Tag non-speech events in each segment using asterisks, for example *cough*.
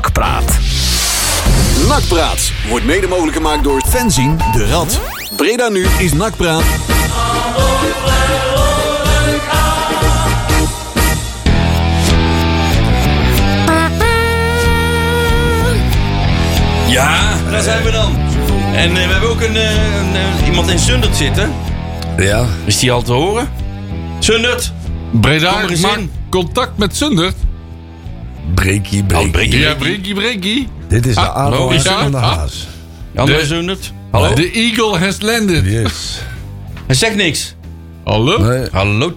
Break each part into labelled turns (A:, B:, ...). A: Nakpraat.
B: Nakpraat wordt mede mogelijk gemaakt door Fenzin de Rad. Breda nu is Nakpraat.
C: Ja, daar zijn we dan. En eh, we hebben ook een, eh, een, eh, iemand in Sundert zitten.
D: Ja.
C: Is die al te horen? Sundert! Kom
E: Breda,
C: er eens
E: maak
C: in.
E: contact met Sundert.
D: Breekie,
C: Oh, breekie.
D: breekie.
E: Ja, breekie, breekie.
D: Dit is de
E: Ah,
D: aanhouding
E: logisch,
D: van de
E: ja.
D: haas.
C: Hallo
E: De-
C: Sundert.
E: The eagle has landed.
D: Yes.
C: Hij zegt niks.
E: Hallo?
D: Nee,
C: Hallo.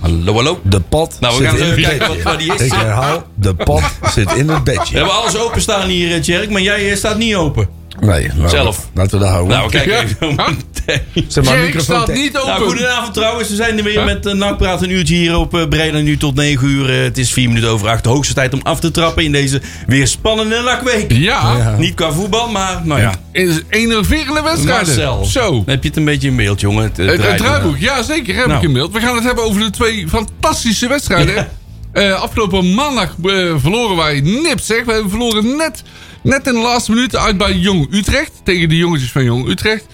C: Hallo, hallo.
D: de pad
C: Nou, we
D: zit
C: gaan
D: in
C: even
D: het
C: kijken
D: bedje.
C: wat- waar die is.
D: Ik herhaal, de
C: *laughs*
D: pad zit in het
C: We
D: bedje.
C: hebben alles openstaan hier, eh, Tjerk, maar jij eh, staat niet open.
D: Nee, nou,
C: Zelf.
D: Laten we daar houden.
C: Nou, we kijken
E: Ja.
C: even meteen.
D: Zeg maar,
E: Jake
D: microfoon
E: staat
D: tegen.
E: niet
C: Nou,
E: open.
C: goedenavond trouwens. We zijn er weer
E: Huh?
C: met uh, Nakpraat een uurtje hier op eh, Breda nu tot 9 uur. Eh, het is 4 minuten over 8. De hoogste tijd om af te trappen in deze weer spannende Nakweek.
E: Ja,
C: Niet qua voetbal, maar nou ja.
E: is enerverende wedstrijden.
C: Marcel.
E: Zo.
C: Dan heb je het een beetje in beeld, jongen. Het, eh, het
E: Het, het
C: draaiboek.
E: draaiboek, ja zeker, heb
C: Nou.
E: ik inmiddels. We gaan het hebben over de twee fantastische wedstrijden.
C: Ja.
E: Eh, afgelopen maandag eh, verloren wij nipt zeg. We hebben verloren net, net in de laatste minuut uit bij Jong Utrecht. Tegen de jongetjes van Jong Utrecht.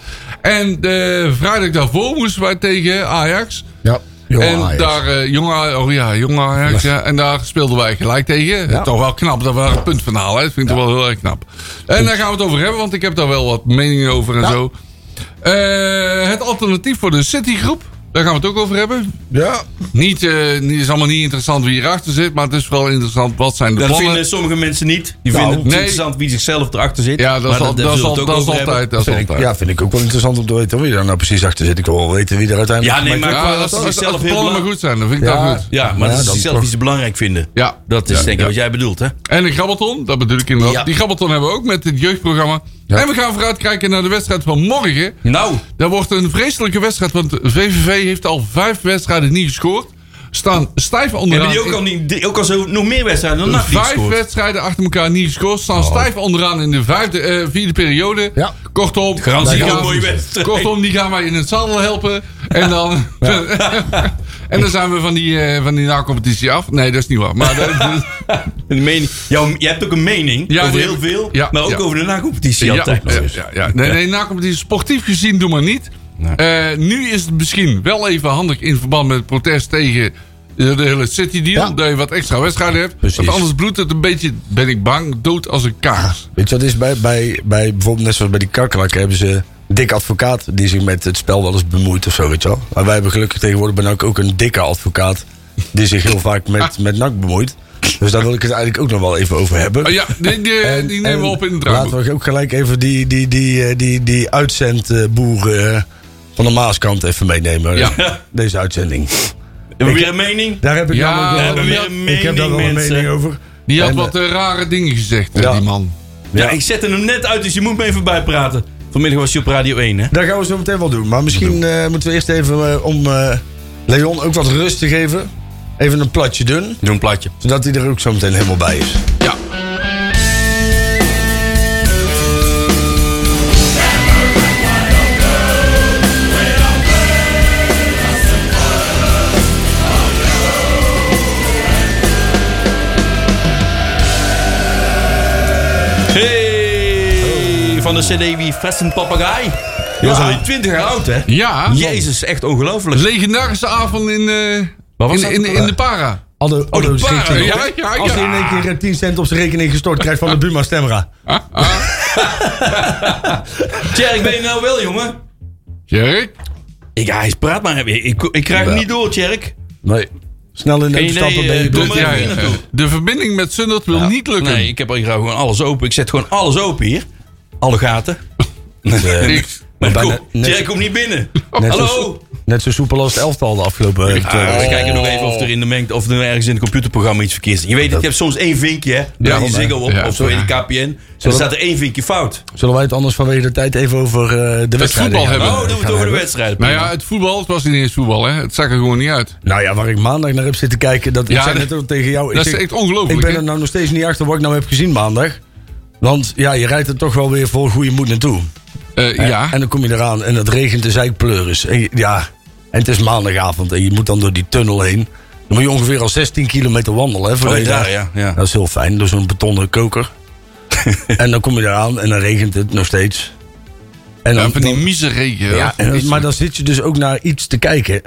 E: En de vrijdag daarvoor moesten wij tegen Ajax.
D: Ja, jongen,
E: en
D: Ajax.
E: daar, eh, jong Aj- oh ja, jong Ajax, ja. En daar speelden wij gelijk tegen.
D: Ja.
E: Toch wel knap dat we daar een punt van halen. hè. Dat vind ik toch wel heel erg knap. En daar gaan we het over hebben, want ik heb daar wel wat meningen over en zo. Eh, het alternatief voor de Citigroep. Daar gaan we het ook over hebben.
D: Ja,
E: Niet, eh, het is allemaal niet interessant wie hierachter zit, maar het is vooral interessant wat zijn de
C: Dat
E: plannen.
C: vinden sommige mensen niet. Die
D: Nou,
C: vinden het
E: nee.
C: interessant wie zichzelf erachter zit.
E: Ja, dat is,
C: Maar
E: al, dat is,
C: zullen
E: al-
C: we het
E: dat
C: ook
E: is
C: over hebben.
E: altijd. Dat is
D: vind ik,
E: altijd.
D: ja, vind ik ook wel interessant om te weten wie daar nou precies achter zit. Ik wil wel weten wie er uiteindelijk...
C: Ja, nee, maar qua
E: Ja,
C: dat ze
E: als, als
C: zichzelf
E: de
C: heel
E: plannen maar
C: belangrijk...
E: goed zijn, dan vind ik
D: Ja.
E: dat goed.
C: Ja, maar
D: Ja,
C: dat ze
D: dan
C: zichzelf
D: toch.
C: iets belangrijk vinden.
E: Ja,
C: Dat is
E: Ja,
C: denk ik
E: ja.
C: wat jij bedoelt, hè?
E: En de grabbelton, dat bedoel ik inderdaad.
C: Ja.
E: Die grabbelton hebben we ook met het jeugdprogramma.
D: Ja.
E: En we gaan vooruitkijken naar de wedstrijd van morgen.
C: Nou,
E: Dat wordt een vreselijke wedstrijd, want VVV heeft al vijf wedstrijden niet gescoord. Staan stijf
C: hebben
E: onderaan.
C: die ook al, niet, die- ook al zo nog meer wedstrijden dan nacht
E: Vijf
C: gescoord? Oh.
E: wedstrijden achter elkaar niet gescoord. Staan stijf onderaan in de vijfde, eh, vierde periode.
D: Ja.
E: Kortom,
C: Garantie
E: die
C: voor een
E: gaan-
C: mooie wedstrijd.
E: Kortom, die gaan wij in het zadel helpen. En dan, *laughs* en dan zijn we van die, eh, van die na-competitie af. Nee, dat is niet waar. Maar
C: *laughs*
E: dat,
C: De mening, jouw, je hebt ook een mening
E: Ja,
C: over
E: die
C: heel
E: heb ik.
C: veel,
E: Ja,
C: maar ook
E: ja.
C: over de na-competitie
E: ja,
C: altijd nog
E: ja,
C: eens.
E: ja, ja. Nee, nee, na-competitie sportief gezien doe maar niet. Eh, nu is het misschien wel even handig in verband met het protest tegen eh, de hele City deal.
D: Ja.
E: Dat je wat extra wedstrijden hebt.
D: Precies.
E: Want anders bloedt het een beetje, ben ik bang, dood als een kaars.
D: Weet je wat is bij, bij, bij bijvoorbeeld net zoals bij die kakkerlakken hebben ze een dikke advocaat die zich met het spel wel eens bemoeit of zo, weet je wel. Maar wij hebben gelukkig tegenwoordig bij NAC ook een dikke advocaat die zich heel
E: *laughs*
D: vaak met, met NAC bemoeit. Dus daar wil ik het eigenlijk ook nog wel even over hebben.
E: Oh ja, die, die,
D: En-
E: die nemen we
D: en
E: op in het draaiboek.
D: Laten we ook gelijk even die, die, die, eh, die, die uitzendboeren eh, van de Maaskant even meenemen. eh,
E: Ja.
D: Deze uitzending.
C: Hebben we weer een mening?
D: Daar heb ik
E: Ja,
D: namelijk
E: we
D: wel
E: hebben
D: een-
C: weer een
D: Ik heb daar wel een
C: mening,
D: mening
C: mensen.
D: over.
E: Die had
D: En,
E: wat eh, rare dingen gezegd, eh,
D: ja.
E: die man.
C: Ja,
D: Ja.
C: ik zette hem net uit, dus je moet me even bijpraten. Vanmiddag was je op Radio 1, hè?
D: Dat gaan we zo meteen wel doen. Maar misschien eh, moeten we eerst even eh, om eh, Leon ook wat rust te geven. Even een platje dun.
C: Doe een plaatje.
D: Zodat hij er ook zo meteen helemaal bij is.
E: Ja.
C: Hey! Van de CD Wie Vest een Papagai. Die was
D: Ja.
C: al 20 jaar oud, hè?
E: Ja.
C: Jezus, echt ongelooflijk.
E: Legendarische avond in, eh,
C: was
E: in,
C: dat?
E: in, in de para.
D: Aldo, Aldo
C: de
D: is
C: paar,
D: 16
E: ja,
D: hoor.
E: ja, ja.
D: Als hij in één keer eh, 10 cent op zijn rekening gestort krijgt *laughs* van de Buma Stemra.
C: Tjerk, ben je nou wel, jongen?
E: Jerk?
C: Ik, hij is- praat maar. Ik, ik, ik krijg hem
D: Ja.
C: niet door, Tjerk.
D: Nee. Snel in de
C: Geen
D: stappen
C: idee,
D: ben
C: eh,
D: je
C: doe
D: door.
C: maar even
E: ja.
C: hier naartoe.
E: De verbinding met Sundert wil niet lukken.
C: Nee, ik heb al hier gewoon alles open. Ik zet gewoon alles open hier. Alle gaten.
D: Eh,
E: Niks.
C: Maar
D: bijna-
C: kom,
D: net-
C: Tjerk komt niet *laughs* binnen.
D: net zo-
C: Hallo?
D: Net zo soepel als het elftal de afgelopen eh, twee
C: Ah, we
D: weken.
C: kijken nog even of er in de mengd, of er ergens in het computerprogramma iets verkeerd is. Je weet dat je hebt soms één vinkje, hè? Bij die
D: maar-
C: Ziggo op,
E: ja,
C: of zo in de KPN. En dan staat er één vinkje fout.
D: Zullen wij het anders vanwege de tijd even over eh, de wedstrijd
E: voetbal hebben.
C: Oh, doen we het over de wedstrijd.
E: Nou ja, het voetbal, het was niet eens voetbal, hè. Het zag er gewoon niet uit.
D: Nou ja, waar ik maandag naar heb zitten kijken, dat
E: Ja,
D: ik zei
E: dat-
D: net ook tegen jou. ik
E: dat is
D: zeg,
E: echt ongelooflijk,
D: Ik ben
E: hè?
D: er nou nog steeds niet achter wat ik nou heb gezien maandag. Want ja, je rijdt er toch wel weer vol goede moed naartoe.
E: Eh,
D: Hè?
E: ja.
D: En dan kom je eraan en het regent de zeikpleuris. En je- ja, en het is maandagavond en je moet dan door die tunnel heen. Dan moet je ongeveer al 16 kilometer wandelen. Hè, voor
C: Oh,
D: de
C: daar,
D: dag.
C: ja, ja.
D: Dat is heel fijn, door zo'n betonnen koker. en dan kom je eraan en dan regent het nog steeds. En
E: Ja, van die
D: dan-
E: mieze regen.
D: ja, en dan- maar dan zit je dus ook naar iets te kijken.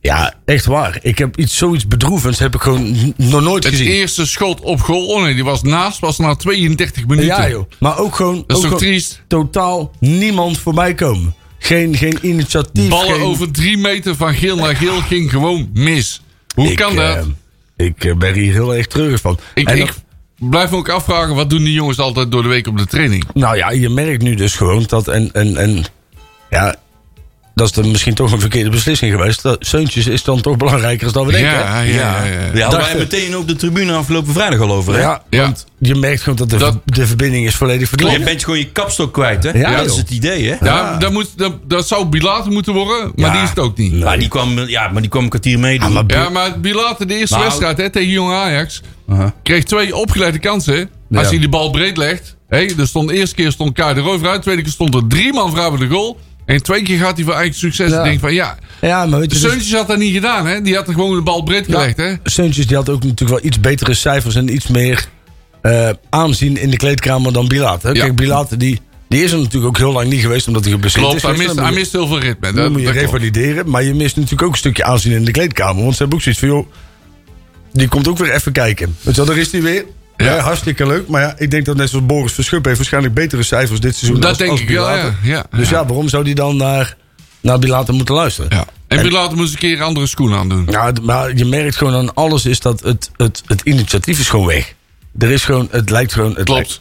D: Ja, echt waar. Ik heb iets, zoiets bedroevends heb ik gewoon n- nog nooit
E: Het
D: gezien.
E: eerste schot op goal, oh nee, die was naast, was na 32 minuten.
D: Ja, joh. Maar ook gewoon,
E: is
D: ook
E: toch
D: gewoon
E: triest?
D: totaal niemand voorbij komen. Geen, geen initiatief.
E: Ballen
D: geen...
E: over drie meter van geel naar geel ging gewoon mis. Hoe
D: Ik,
E: kan dat?
D: eh, ik eh, ben hier heel erg treurig van.
E: ik,
D: En dan-
E: ik blijf me ook afvragen, wat doen die jongens altijd door de week op de training?
D: Nou ja, je merkt nu dus gewoon dat. En, en, en ja, dat is dan misschien toch een verkeerde beslissing geweest. Dat, Seuntjes is dan toch belangrijker dan we denken.
E: ja, ja,
D: hè?
E: Ah, ja, ja.
C: Daar hadden wij
D: Dachten-
C: meteen op de tribune afgelopen vrijdag al over. Hè?
D: Ja,
E: Ja.
D: want je merkt gewoon dat de,
E: Dat-
D: de verbinding is volledig
C: Je
D: verdwenen.
C: bent gewoon je kapstok kwijt, hè?
D: Ja,
C: dat is
D: joh.
C: het idee, hè?
E: Ja, Dat, moet, dat, dat zou Bilate moeten worden, maar
D: Ja.
E: die is het ook niet.
D: Nee.
C: Maar, die kwam, ja, maar die kwam een kwartier meedoen.
D: maar
E: Ja, maar Bilate, de eerste
C: Nou.
E: wedstrijd hè, tegen Jong Ajax,
C: Aha.
E: kreeg twee opgeleide kansen. Als
D: Ja.
E: hij die bal breed legt. Hé, er stond, de eerste keer stond Kai de Roo vooruit, de tweede keer stond er drie man vrouwen de goal. En twee keer gaat hij voor eigen succes.
D: Ja.
E: Ik denk van ja,
D: Ja, maar weet je, dus,
E: Seuntjes had dat niet gedaan, hè? Die had er gewoon de bal breed gelegd, hè?
D: Seuntjes die had ook natuurlijk wel iets betere cijfers en iets meer eh, aanzien in de kleedkamer dan Bilaat. hè.
E: Ja.
D: Kijk, Bilaat die, die is er natuurlijk ook heel lang niet geweest omdat hij geblesseerd
E: Klopt,
D: is.
E: hij
D: geweest.
E: mist,
D: Dan
E: hij
D: moet je-
E: mist heel veel ritme.
D: dan
E: Dat,
D: moet je
E: dat klopt.
D: revalideren, maar je mist natuurlijk ook een stukje aanzien in de kleedkamer. Want ze hebben ook zoiets van, joh, die komt ook weer even kijken. Weet je wel, daar is hij weer. Ja.
E: Ja.
D: hartstikke leuk. Maar ja, ik denk dat net zoals Boris Verschup heeft waarschijnlijk betere cijfers dit seizoen.
E: dat
D: als-
E: denk
D: als
E: ik wel,
D: Bilate.
E: ja. ja,
D: Dus
E: ja.
D: ja, waarom zou die dan naar, naar Bilate moeten luisteren?
E: ja. En Bilater moest een keer een andere schoen aandoen.
D: Nou, d- maar je merkt gewoon aan alles is dat het, het, het initiatief is gewoon weg. Er is gewoon, het lijkt gewoon... Het
E: Klopt.
D: lijkt-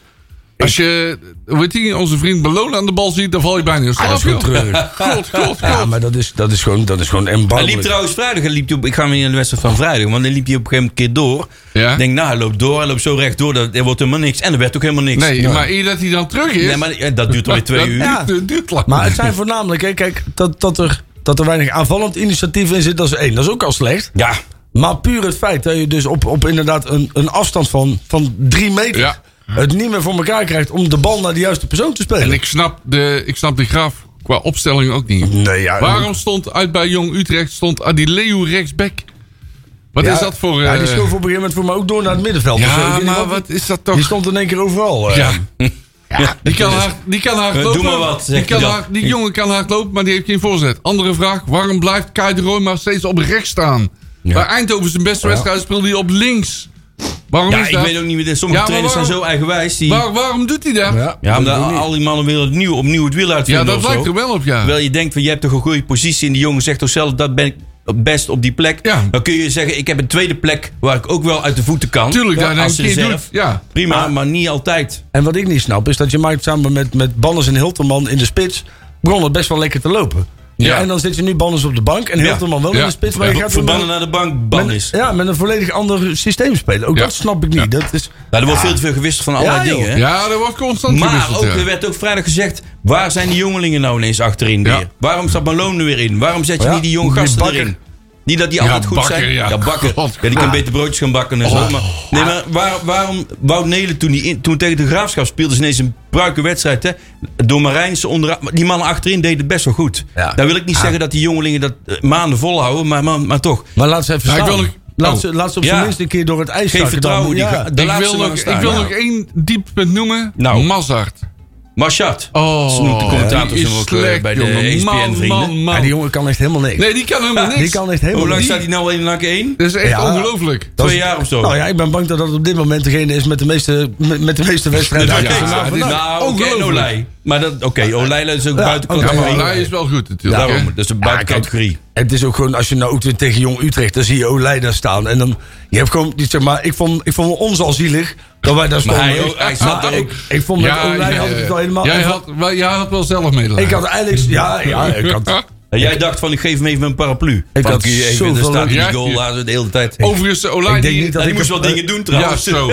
E: Als je, weet je, onze vriend Beloon aan de bal ziet, dan val je bijna in slaap.
D: dat is gewoon
E: joh. *laughs*
D: treurig.
E: Klopt, klopt,
D: ja,
E: klopt.
D: maar dat is, dat is gewoon, dat is gewoon
C: Hij liep
D: erbarmelijk.
C: trouwens vrijdag. Hij liep op, ik ga weer in de wedstrijd van vrijdag. Want dan liep hij op een gegeven moment een keer door.
E: Ja.
C: Ik denk, nou, hij loopt door. Hij loopt zo recht door. Dat, er wordt helemaal niks. En er werd ook helemaal niks.
E: Nee, maar eer dat hij dan terug is...
C: Nee, maar ja, dat duurt alweer twee
E: dat
C: uur.
E: duurt- dat duurt lang.
D: Maar het zijn voornamelijk, hè, kijk, dat, dat, er, dat er weinig aanvallend initiatief in zit, dat is één. Dat is ook al slecht.
C: Ja.
D: Maar puur het feit dat je dus op, op inderdaad een, een afstand van, van drie meter...
E: Ja.
D: het niet meer voor elkaar krijgt om de bal naar de juiste persoon te spelen.
E: En ik snap, de, ik snap die graaf qua opstelling ook niet.
D: nee, ja,
E: Waarom stond uit bij Jong Utrecht stond Adileu rechtsback? Wat
D: ja,
E: is dat voor...
D: ja, die
E: eh,
D: schoof op een gegeven moment voor mij ook door naar het middenveld. of zo. Ik
E: ja,
D: weet niet
E: maar wat is dat toch...
D: Die stond in één keer overal. eh.
E: ja. Ja, die kan hard, die kan hard
C: Eh, doe
E: lopen.
C: maar wat,
E: die,
C: zegt
E: kan
C: hij dan.
E: hard- die jongen kan hard lopen, maar die heeft geen voorzet. Andere vraag, waarom blijft Kai de Roy maar steeds op rechts staan? Bij Eindhoven zijn beste wedstrijd speelde hij op links. Waarom
C: Ja,
E: is
C: ik
E: dat?
C: weet ook niet meer.
E: Ja,
C: Sommige
E: maar
C: trainers zijn
E: waarom-
C: zo eigenwijs. Die,
E: Waar- waarom doet hij dat? Ja,
C: ja, omdat
D: dat doe ik
C: al die mannen willen opnieuw, opnieuw het wiel uitvinden.
E: dat
C: of
E: lijkt
C: zo.
E: er wel op, ja.
C: Terwijl je denkt, van, je hebt toch een goede positie. En die jongen zegt toch zelf, dat ben ik best op die plek.
E: Ja.
C: Dan kun je zeggen, ik heb een tweede plek waar ik ook wel uit de voeten kan.
E: Tuurlijk, dat hij
C: als
E: een keer
C: reserve.
E: doet. Ja.
C: Prima, maar niet altijd.
D: En wat ik niet snap is dat je maakt samen met, met Banners en Hilterman in de spits. begon het best wel lekker te lopen.
E: Ja.
D: En dan zit je nu Banners op de bank en Hilterman wel
E: Ja.
D: in de spits. Maar je gaat
C: Verbannen
D: met-
C: naar de bank, ban
D: met,
C: is.
D: Ja, met een volledig ander systeem spelen. Ook
E: Ja.
D: dat snap ik niet. Dat is,
C: Nou, er wordt veel te veel gewisseld van allerlei
D: Ja, joh.
C: dingen. Hè?
E: Ja, dat wordt constant
C: Maar
E: gewisseld,
C: ook,
E: ja.
C: er werd ook vrijdag gezegd... waar zijn die jongelingen nou ineens achterin weer?
E: Ja.
C: Waarom staat Malone er weer in? Waarom zet je
D: Ja,
C: niet die jonge
D: die
C: gasten
D: bakker.
C: erin? Niet dat die
E: Ja,
C: altijd goed
E: bakker,
C: zijn.
E: ja. Oh.
C: bakker.
E: God.
C: Ja, die kan beter broodjes gaan bakken en zo. Maar, nee, maar waar, waarom Wout Nelen toen, hij in, toen tegen de Graafschap speelde... is ineens een bruike wedstrijd, hè? Door Marijnse onderaan... maar Die mannen achterin deden het best wel goed.
D: Ja.
C: Dan wil ik niet zeggen dat die jongelingen dat eh, maanden volhouden... maar, maar, maar toch,
D: maar laat ze even
E: Ja, ik
D: staan.
E: wil ook-
D: laat,
E: Oh.
D: ze, laat ze op zijn
C: Ja.
D: minst een keer door het ijs
C: geef
D: zakken dan.
C: vertrouwen. Die
D: Ja.
C: ga-
E: Ik
C: daar laat
E: wil,
C: ze maar
E: nog, ik
C: staan.
E: wil
C: Ja.
E: nog één dieptepunt noemen.
C: Nou.
E: Mazart.
C: Machad.
E: Oh,
C: Ze noemt de commentator
E: die is
C: zo ook, eh,
E: slecht,
C: bij
E: jongen.
C: de
E: Man,
C: ESPN-vrienden.
E: man, man.
D: Ja, die jongen kan echt helemaal niks.
E: Nee, die kan helemaal niks.
D: die kan echt helemaal
C: Hoe lang
D: niks.
C: staat hij nou in lang 1?
E: Dat is echt
D: Ja.
E: ongelooflijk.
D: Dat
C: Twee
D: is-
C: jaar of zo.
D: Nou ja, ik ben bang dat dat op dit moment degene is met de meeste, met, met de meeste wedstrijden.
E: Ja,
D: uit de
E: ja,
D: naam
E: ja,
D: van-
E: dit-
C: nou, oké,
E: Ongelooflijk.
C: Olij. Maar dat, oké, Olij is ook buiten
D: oké,
E: Ja,
C: categorie.
E: maar hij is wel goed natuurlijk.
C: Daarom,
E: hè?
C: dat is een
D: Ja, Dus
C: buiten
D: kijk,
C: categorie.
D: Het is ook gewoon, als je nou ook weer tegen Jong Utrecht, dan zie je Olij daar staan. En dan, je hebt gewoon, die- zeg maar, ik vond, ik vond ons al zielig dat wij daar
C: Maar
D: stonden.
C: hij ook- hij
E: Ah,
C: zat
D: Maar
C: er
D: ik,
C: ook.
D: ik vond met Olij had ik het al helemaal...
E: Jij
D: ik
E: had, wel- jij had wel zelf medelijden.
D: ik had eigenlijk, ja, ja, ik
E: *laughs*
D: had...
C: En jij dacht van, ik geef hem even mijn paraplu. Ik
D: had
C: even, daar
D: zoveel
C: staat die
E: leuk-
C: goal aan de hele tijd. En
E: Overigens, de Olij...
D: Ik denk
E: die-
D: niet dat
C: die
D: ik
C: moest
D: heb-
C: wel dingen doen
E: Ja,
C: trouwens.
E: zo.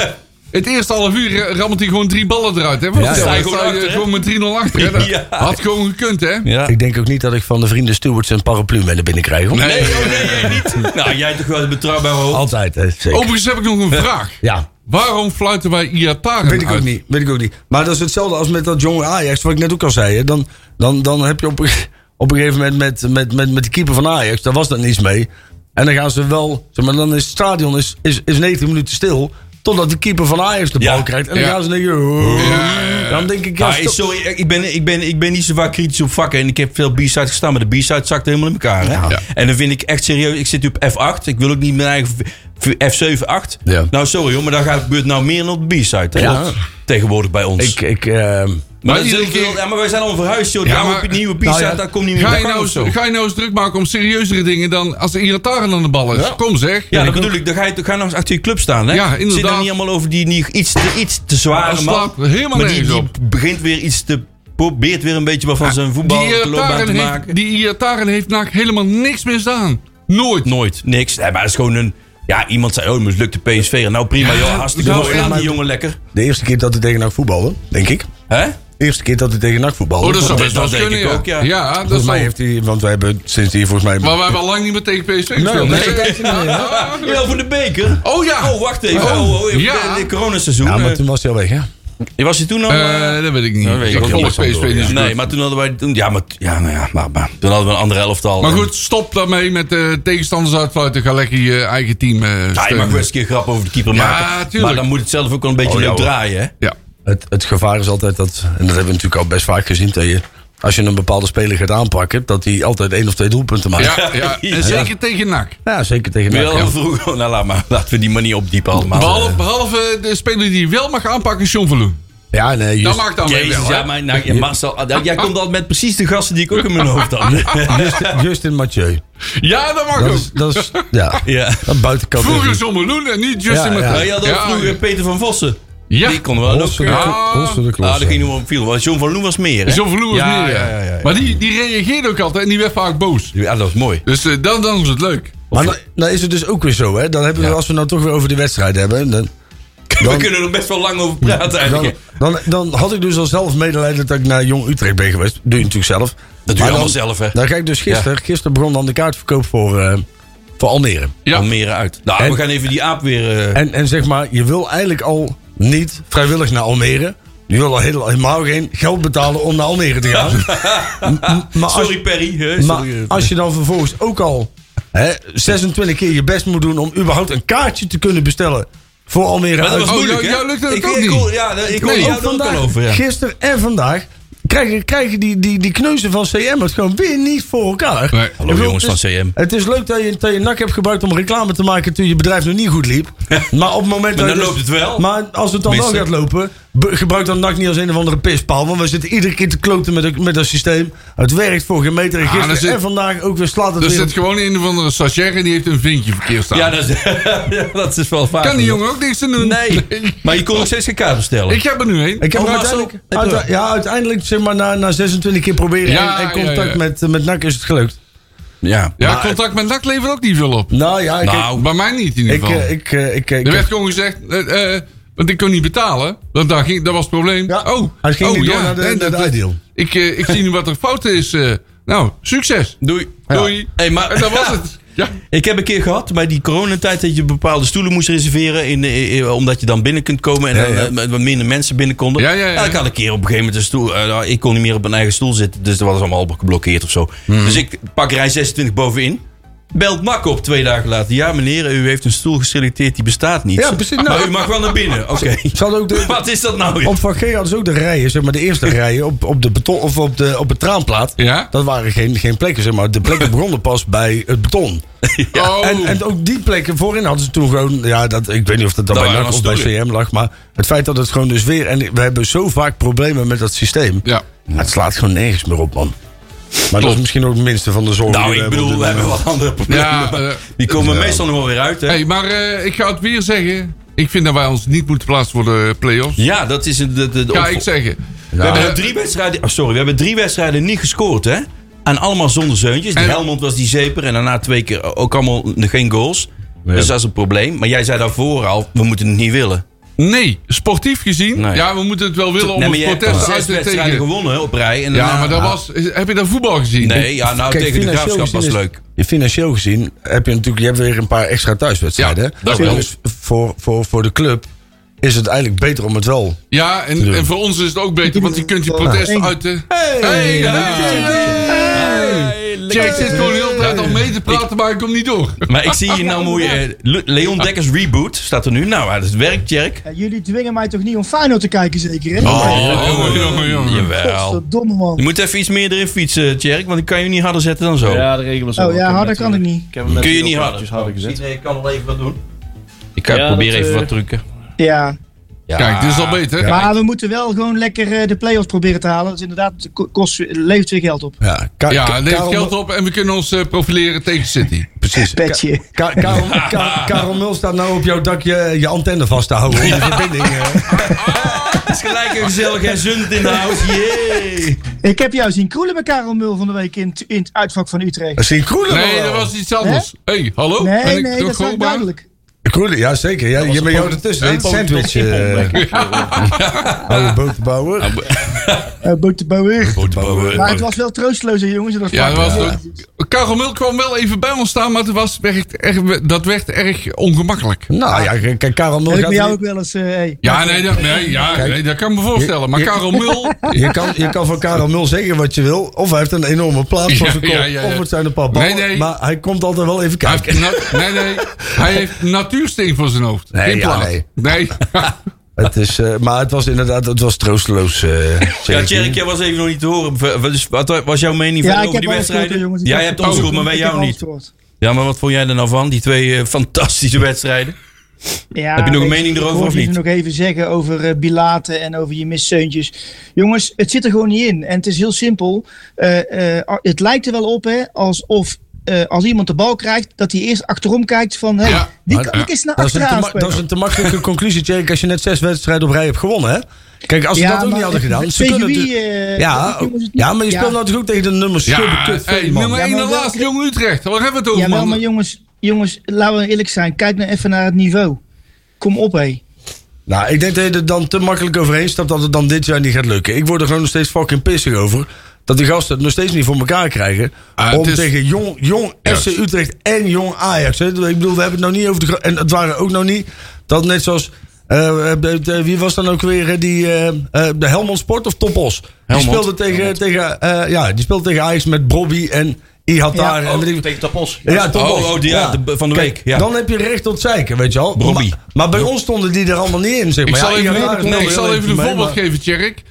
E: Het eerste half uur eh, rammelt hij gewoon drie ballen eruit. Hè? Want
D: Ja,
E: dan
C: ja.
E: sta je
C: Achter, hè?
E: gewoon met 3-0 achter.
D: *laughs*
E: Hè? Dat
C: Ja.
E: Had gewoon gekund, hè?
C: Ja.
D: Ik denk ook niet dat ik van de vrienden stewards een paraplu mee naar binnen krijg. hoor.
C: Nee, oh nee, jij niet. *laughs* Nou, jij toch wel een betrouwbaar hoofd.
D: Altijd, hè, zeker.
C: Oh.
E: Overigens heb ik nog
C: *laughs*
E: een vraag.
D: Ja.
E: Waarom fluiten wij Iataren
D: Weet ik ook
E: uit?
D: niet, weet ik ook niet. Maar dat is hetzelfde als met dat jonge Ajax, wat ik net ook al zei. Hè. Dan, *laughs* dan, dan heb je op, een- op een gegeven moment met, met, met, met de keeper van Ajax, daar was dan iets mee. En dan gaan ze wel, zeg maar, dan is het stadion is, is, is 19 minuten stil. Totdat de keeper van Ajax de
C: Ja.
D: bal krijgt. En dan
E: Ja.
D: gaan ze denken. "Oh."
E: Ja, ja, ja.
D: Dan denk ik. Ja,
C: Ja,
D: stop.
C: sorry, ik ben, ik, ben, ik ben niet zo vaak kritisch op vakken. En ik heb veel B-side gestaan, maar de B-side zakt helemaal in elkaar. Hè?
E: Ja.
C: En dan vind ik echt serieus, ik zit nu op F8. Ik wil ook niet mijn eigen v- F7, 8.
D: Ja.
C: Nou, sorry hoor, maar daar gaat- gebeurt nou meer dan op de B-side. hè?
D: Ja.
C: Dat- Tegenwoordig bij ons.
D: ik, ik, ehm,
C: maar,
E: Maar
C: dat is
E: iedere
C: heel veel-
E: keer-
C: ja, maar wij zijn al verhuisd, joh.
E: Ja,
C: Ja,
E: maar-
C: maar, nieuwe B-side,
D: Nou ja,
C: daar kom niet meer
E: Ga
C: bij
E: je, nou,
C: of zo.
E: eens- ga je nou eens druk maken om serieuzere dingen dan als de Iataren aan de bal is? Kom zeg.
C: Ja, dat bedoel ik. Dan ga je, ga je nog eens achter je club staan. Hè?
E: Ja,
C: Zit
E: inderdaad.
C: dan niet allemaal over die, die iets, te, iets te zware
E: Dat
C: man.
E: slaat helemaal
C: maar die,
E: nergens
C: die
E: op.
C: begint weer iets te... Probeert weer een beetje wat van zijn voetbal
E: Die
C: loopbaan te
E: Iataren
C: maken.
E: heeft, die Iataren heeft NAC helemaal niks misdaan. Nooit.
C: Nooit, niks. Nee, maar dat is gewoon een... Ja, iemand zei, oh, mislukte PSV. En Nou prima, joh, hartstikke
E: zo
C: mooi.
E: is
C: Laat die
D: het.
C: jongen lekker.
D: de eerste keer dat hij tegen NAC voetbalde, denk ik.
C: Hè?
D: De eerste keer dat hij tegen NAC voetbalde.
E: Oh, dat zou
C: dat-
E: best wel
C: dat
E: eens
C: denk
E: kunnen,
C: ik ook, ja.
E: Ja, dat
D: volgens mij
E: zou-
D: heeft hij, want we hebben sinds hier volgens mij.
E: Maar we hebben al lang niet meer tegen PSV gespeeld.
D: nee,
E: hè?
D: dat denk ik niet,
E: Ja, *laughs* ja,
C: Ja, voor de beker.
E: Oh ja.
C: Oh, wacht even. Oh, oh, even
E: Ja.
C: de, de coronaseizoen.
D: ja, maar
C: Eh,
D: toen was hij al weg, hè?
C: was hij toen al... eh,
E: Eh, dat weet ik niet.
C: dat weet ik
E: ik
C: ook
E: volg
C: niet.
E: PSV niet zo
C: Nee,
E: goed.
C: maar toen hadden wij... Toen, ja, maar, ja, nou ja, maar, maar toen hadden we een andere elftal.
E: Maar goed, stop daarmee met eh, tegenstanders uitfluiten. Ga lekker je eigen team eh,
C: Ja, je mag
E: steunen.
C: best een keer grap over de keeper
E: Ja,
C: maken.
E: tuurlijk.
C: maar dan moet het zelf ook wel een beetje
D: Oh, ja,
C: leuk
D: hoor.
C: draaien, hè?
E: Ja.
D: Het, het gevaar is altijd dat, en dat hebben we natuurlijk al best vaak gezien, dat je, als je een bepaalde speler gaat aanpakken, dat hij altijd één of twee doelpunten maakt.
E: Ja, *laughs* ja. En
C: Ja.
E: zeker tegen NAC.
D: Ja, zeker tegen
C: Wel
D: NAC. ja.
C: vroeger... *laughs* Nou, laat maar. Laten we die manier opdiepen allemaal.
E: Behalve, behalve de speler die je wel mag aanpakken is John Verloen.
D: Ja, nee,
E: Dat
D: just,
E: mag dan weer
C: Jezus,
E: wel. hè?
C: ja, maar, nou, ja, Marcel, ah, jij komt altijd met precies de gasten die ik ook in mijn hoofd had. *laughs*
D: Justin, Justin Mathieu.
E: Ja, dat mag
D: Dat
E: ook.
D: is,
E: *laughs*
D: dat is ja,
C: ja.
D: dat buitenkant.
E: Vroeger
D: is-
E: John Verloen en nu Justin
D: Ja, ja.
C: Maar
E: Matthijs.
C: je had ook vroeger Peter van Vossen.
E: Ja.
C: Die kon wel ook.
D: Holster de,
C: Ah,
D: Klo- Holster de Klooster.
C: dat ging nu wel veel. Want John van Loen was meer. Hè?
E: John Verloen was
C: Ja,
E: meer.
C: ja, ja, ja, ja.
E: Maar die, die reageerde ook altijd en die werd vaak boos.
C: Ja, dat was mooi.
E: Dus eh, dan, dan is het leuk.
D: maar dan, dan is het dus ook weer zo, hè? Dan hebben we, Als we nou toch weer over de wedstrijd hebben, dan,
C: *laughs* We
D: Dan-
C: kunnen er best wel lang over praten
D: dan,
C: eigenlijk.
D: dan, dan had ik dus al zelf medelijden dat ik naar Jong Utrecht ben geweest. doe je natuurlijk zelf.
C: Dat doe je
D: Maar
C: allemaal
D: dan-
C: zelf, hè?
D: Dan ga ik dus gisteren, gisteren begon dan de kaartverkoop voor, eh, voor Almere.
E: Ja.
C: Almere uit. Nou,
D: En-
C: we gaan even die aap weer... eh,
D: En, en zeg maar, je wil eigenlijk al niet vrijwillig naar Almere. Je wil al heel- helemaal geen geld betalen om naar Almere te
C: *laughs*
D: gaan. M- maar, als,
C: sorry Perry. hè,
D: maar
C: sorry, eh.
D: als je dan vervolgens ook al hè, 26 keer je best moet doen om überhaupt een kaartje te kunnen bestellen voor Almere.
C: maar dat
D: uit.
C: was
E: Oh,
C: moeilijk,
E: jou-
C: hè?
E: jou lukte dat
C: ik,
E: ook
C: ik,
E: niet.
C: hoor- Ja, dat- ik hoor
E: Nee,
C: jou
D: ook
C: er ook al
D: vandaag,
C: over, ja.
D: gisteren en vandaag, krijgen, krijgen die, die, die kneuzen van CM het gewoon weer niet voor elkaar.
E: Nee.
D: Ik
C: Hallo, jongens
D: het is-
C: van CM.
D: Het is leuk dat je, dat je NAC hebt gebruikt om reclame te maken toen je bedrijf nog niet goed
C: *laughs*
D: liep. Maar op het moment
C: Maar
D: dat
C: dan
D: je dus-
C: loopt het wel.
D: Maar als het dan wel
C: Tenminste.
D: gaat lopen, be- gebruik dan NAC niet als een of andere pispaal. Want we zitten iedere keer te kloten met, het- met dat systeem. Het werkt voor geen meter. En
E: Ah, dan
D: gisteren
E: zit-
D: en vandaag ook weer slaat het
E: Er
D: weer.
E: zit gewoon een of andere stagiair en die heeft een vinkje verkeerd staan.
C: Ja, dat is, *laughs* ja, dat is wel vaak.
E: kan die jongen ook niks aan doen.
C: Nee. Maar je kon nog steeds geen kaart bestellen.
E: *laughs* Ik heb er nu een.
D: Ik heb
C: Oh,
D: hem
C: Marcel,
D: uiteindelijk,
C: heb je-
D: uite- ja, uiteindelijk zeg maar, na, na 26 keer proberen
E: Ja,
D: en, en contact
E: ja, ja.
D: Met, met NAC is het gelukt.
C: ja.
E: Ja,
D: Maar-
E: contact met NAC levert ook niet veel op.
D: Nou ja, ik,
C: Nou,
E: Bij mij niet in ieder
D: ik,
E: geval.
D: eh, ik, eh, ik, ik,
E: er werd gewoon gezegd, eh, eh, want ik kon niet betalen. Want daar ging, dat was het probleem.
D: Ja,
E: oh,
D: hij ging
E: oh,
D: niet door
E: ja,
D: naar de-
E: nee,
D: naar de
E: dat-
D: iDeal.
E: Ik, eh, ik zie nu wat er fout is. eh. nou, succes.
C: doei.
E: Doei.
C: Hey, maar,
E: En dat was het. Ja.
C: Ik heb een keer gehad bij die coronatijd dat je bepaalde stoelen moest reserveren. In, eh, eh, omdat je dan binnen kunt komen en
D: Ja,
C: dan,
D: ja.
C: eh, met wat minder mensen binnen konden.
E: Ja, ja, ja.
C: Nou, ik had een keer op een gegeven moment een stoel. eh, nou, ik kon niet meer op mijn eigen stoel zitten. Dus dat was allemaal al geblokkeerd of zo.
E: Mhm.
C: Dus ik pak rij 26 bovenin. Belt Mak op twee dagen later. Ja, meneer, u heeft een stoel geselecteerd die bestaat niet.
D: Ja, precies. Nou.
C: *laughs* maar u mag wel naar binnen. Oké.
D: Ze hadden ook de-
C: *laughs* Wat is dat nou? weer?
D: Op Van Geel hadden ze ook de rijen, zeg maar de eerste rijen op, op, de beton, of op, de, op het traanplaat.
E: Ja?
D: Dat waren geen, geen plekken, zeg maar. De
C: *laughs*
D: plekken begonnen pas bij het beton.
E: Oh.
D: En, en ook die plekken voorin hadden ze toen gewoon... Ja, dat, ik weet niet of dat dan
C: Dat
D: bij
C: waren
D: NAC of bij
C: dan stoelen.
D: CM lag. Maar het feit dat het gewoon dus weer... En we hebben zo vaak problemen met dat systeem.
E: ja.
D: Ja, Het slaat gewoon nergens meer op, man. Maar dat
E: Klopt.
D: is misschien ook het minste van de zorg. die
C: Nou, ik
D: hebben op
C: bedoel,
D: dit
C: we hebben
D: moment.
C: wat andere problemen.
E: Ja,
C: maar
E: eh,
C: die komen meestal nog wel weer uit. Hè?
E: Hey, maar eh, ik ga het weer zeggen. Ik vind dat wij ons niet moeten plaatsen voor de play-offs.
C: Ja, dat is een- de, de, de
E: Ga
C: opvo-
E: ik zeggen.
C: We
E: Eh,
C: hebben drie wedstrijden. oh, sorry, we hebben drie wedstrijden niet gescoord, hè? En allemaal zonder zeuntjes. Die
E: En-
C: Helmond was die zeper en daarna twee keer ook allemaal geen goals. Dus dat is een probleem. Maar jij zei daarvoor al, we moeten het niet willen.
E: Nee, sportief gezien.
C: Nee.
E: Ja, we moeten het wel willen om
C: nee,
E: het
C: maar jij hebt al
E: protest
C: zes
E: uit te
C: wedstrijden
E: tekenen.
C: gewonnen hè, op rij. En
E: Ja,
C: daarna- Ah,
E: maar dat was. is- Heb je dat voetbal gezien?
C: Nee, ja, nou
D: Kijk,
C: tegen de
D: financieel
C: graafschap was
D: gezien is-
C: leuk.
D: Ja, Financieel gezien heb je natuurlijk je hebt weer een paar extra thuiswedstrijden.
E: Ja,
D: hè?
E: dat wel.
D: Dus voor, voor, voor de club is het eigenlijk beter om het wel.
E: Ja, en, en voor ons is het ook beter, want je kunt je protest
D: Hey.
E: uiten.
D: Hey,
E: Hey,
D: hey,
E: ja.
D: hey, hey.
C: Hey,
E: Jay zit gewoon de hele tijd al mee te praten, maar ik kom niet door.
C: Maar ik zie hier nou mooi... eh, Le- Leon Dekkers Reboot staat er nu. Nou, dat werkt, Jerk.
A: Ja, jullie dwingen mij toch niet om Feyenoord te kijken, zeker?
E: Oh,
A: Hè?
E: jongen, jongen, jongen.
C: Oh, Jawel.
A: Godverdomme,
C: Je
A: man.
C: moet even iets meer erin fietsen, Jerk. Want ik kan je niet harder zetten dan zo.
F: Ja, de regel was ook.
A: Oh, ja,
F: Ik heb hem
A: harder kan
F: net weer-
A: ik niet.
F: heb hem net
C: Kun je
F: weer
C: niet
F: op
C: harder. Oh,
F: plaatjes harder gezet.
C: ik kan wel even wat doen. Ik kan
F: Ja,
C: proberen
F: dat,
C: even
F: eh,
C: wat trucken.
A: Ja.
E: Kijk, dit is al beter.
A: Maar we moeten wel gewoon lekker eh, de play-offs proberen te halen. Dus inderdaad, het ko- kost, levert weer geld op.
D: Ja, Ka-
E: Ja,
D: Ka-
E: het levert
D: Karel-
E: geld op en we kunnen ons eh, profileren tegen City.
D: Precies.
A: Petje.
D: Ka- Karel, Ka- Karel Mul staat nou op jouw dak je, je antenne vast te houden. om de verbinding, eh.
C: *laughs* Het is gelijk een gezellig en zundend *laughs* in de house. Jee.
A: Ik heb jou zien kroelen met Karel Mul van de week in, het- in het uitvak van Utrecht.
D: Misschien Kroelen wel.
E: Nee, dat was iets anders. Hé, hey, hallo? Ben
A: Nee,
E: ik
A: nee,
E: nog
A: dat is ook
E: hoorbaar?
A: duidelijk.
D: Kroelen, ja zeker. Ja, je bent jou ertussen.
E: een
D: Een sandwich. eh *laughs* oude boterbouwer.
A: Eh boek de bouwer.
D: Boterbouwer.
A: Maar het was wel troosteloos, hè, jongens. Dat was
E: Ja, dat was
A: fucking-
E: ook- Karel Mul kwam wel even bij ons staan, maar dat, was echt erg, dat werd erg ongemakkelijk.
D: Nou ja, kijk, Karel Mul
A: Heb ik
D: gaat
A: bij jou ook
D: niet-
A: wel eens... eh, hey.
E: Ja, nee, dat, nee, ja,
D: Kijk.
E: nee, dat kan ik me voorstellen. Maar
D: Je-
E: Karel Mul...
D: je kan, je kan van Karel Mul zeggen wat je wil. Of hij heeft een enorme plaat voor
E: Ja,
D: zijn kop.
E: ja, ja, ja.
D: Of het zijn een paar ballen.
E: Nee, nee.
D: Maar hij komt altijd wel even
E: Hij
D: kijken.
E: heeft nat- nee, nee. Hij heeft natuursteen voor zijn hoofd.
D: Nee,
E: Geen
D: ja,
E: plaat.
D: nee.
E: nee.
D: Het is, eh, maar het was inderdaad het was troosteloos. eh,
C: Ja,
D: zeker.
C: Tjerk, jij was even nog niet te horen. V- v- dus Wat was jouw mening verder
A: Ja, ik
C: over
A: heb
C: die
A: alles gehoord, hè,
C: wedstrijden?
A: jongens. Ik
C: Jij
A: heb-
C: hebt ons gehoord, maar wij
A: ik
C: jou
A: heb alles
C: niet.
A: gehoord.
C: Ja, maar wat vond jij er nou van? Die twee eh, fantastische wedstrijden.
A: Ja,
C: Heb je nog een
A: weet
C: mening
A: ik
C: erover
A: hoorde
C: of niet?
A: jullie nog even zeggen over eh Bilate en over je miszeuntjes. Jongens, het zit er gewoon niet in. En het is heel simpel. Eh, eh, het lijkt er wel op hè, alsof eh, als iemand de bal krijgt, dat hij eerst achterom kijkt van... Hey,
E: Ja,
A: die
D: maar-
A: kan ik eens naar
D: Dat is, een te
A: achteraan
D: ma- dat is
A: spelen.
D: een te makkelijke conclusie, Tjerk, als je net zes wedstrijden op rij hebt gewonnen. Hè? Kijk, als ze dat ook
A: maar
D: niet hadden gedaan. Ze
A: tegen
D: kunnen
A: wie,
D: natuurlijk-
A: eh,
D: ja,
A: kunnen ze het
D: ja,
A: niet-
D: maar je speelt natuurlijk ook tegen de nummer
E: ja,
D: schubbe kut
E: hey,
D: Veeman.
E: nummer
A: Ja,
E: 1
A: maar
E: en
A: wel-
E: laatste Jong Utrecht. Waar hebben we het over,
A: Jawel,
E: man?
A: maar jongens, jongens, laten we eerlijk zijn. Kijk nou even naar het niveau. Kom op, hé.
D: Nou, ik denk dat je er dan te makkelijk overheen stapt dat het dan dit jaar niet gaat lukken. Ik word er gewoon nog steeds fucking pissig over. Dat die gasten het nog steeds niet voor elkaar krijgen.
E: Ah,
D: om
E: het is-
D: tegen jong, jong FC
E: Juist.
D: Utrecht en jong Ajax. Hè. Ik bedoel, we hebben het nou niet over de. gro- En het waren ook nog niet. Dat net zoals. eh, eh, eh, wie was dan ook weer eh, die. eh, eh, de Helmond Sport of Topos? Die
C: Helmond.
D: speelde tegen. tegen eh, ja, die speelde tegen Ajax met Bobby en Ihatar. en weet ik-
F: Tegen Tapos.
D: ja, toch
C: Oh,
D: wel.
C: oh, die- ja, de- van de
D: Kijk,
C: week, ja.
D: Dan heb je recht tot zeiken, weet je al.
C: Robbie.
D: Maar, maar bij ons stonden die er allemaal niet in, zeg maar.
E: Ik
D: Ja,
E: zal even,
D: iedereen kon
E: nee,
D: er
E: ik zal
D: heel
E: even een
D: mee,
E: voorbeeld
D: maar-
E: geven, Tjerk.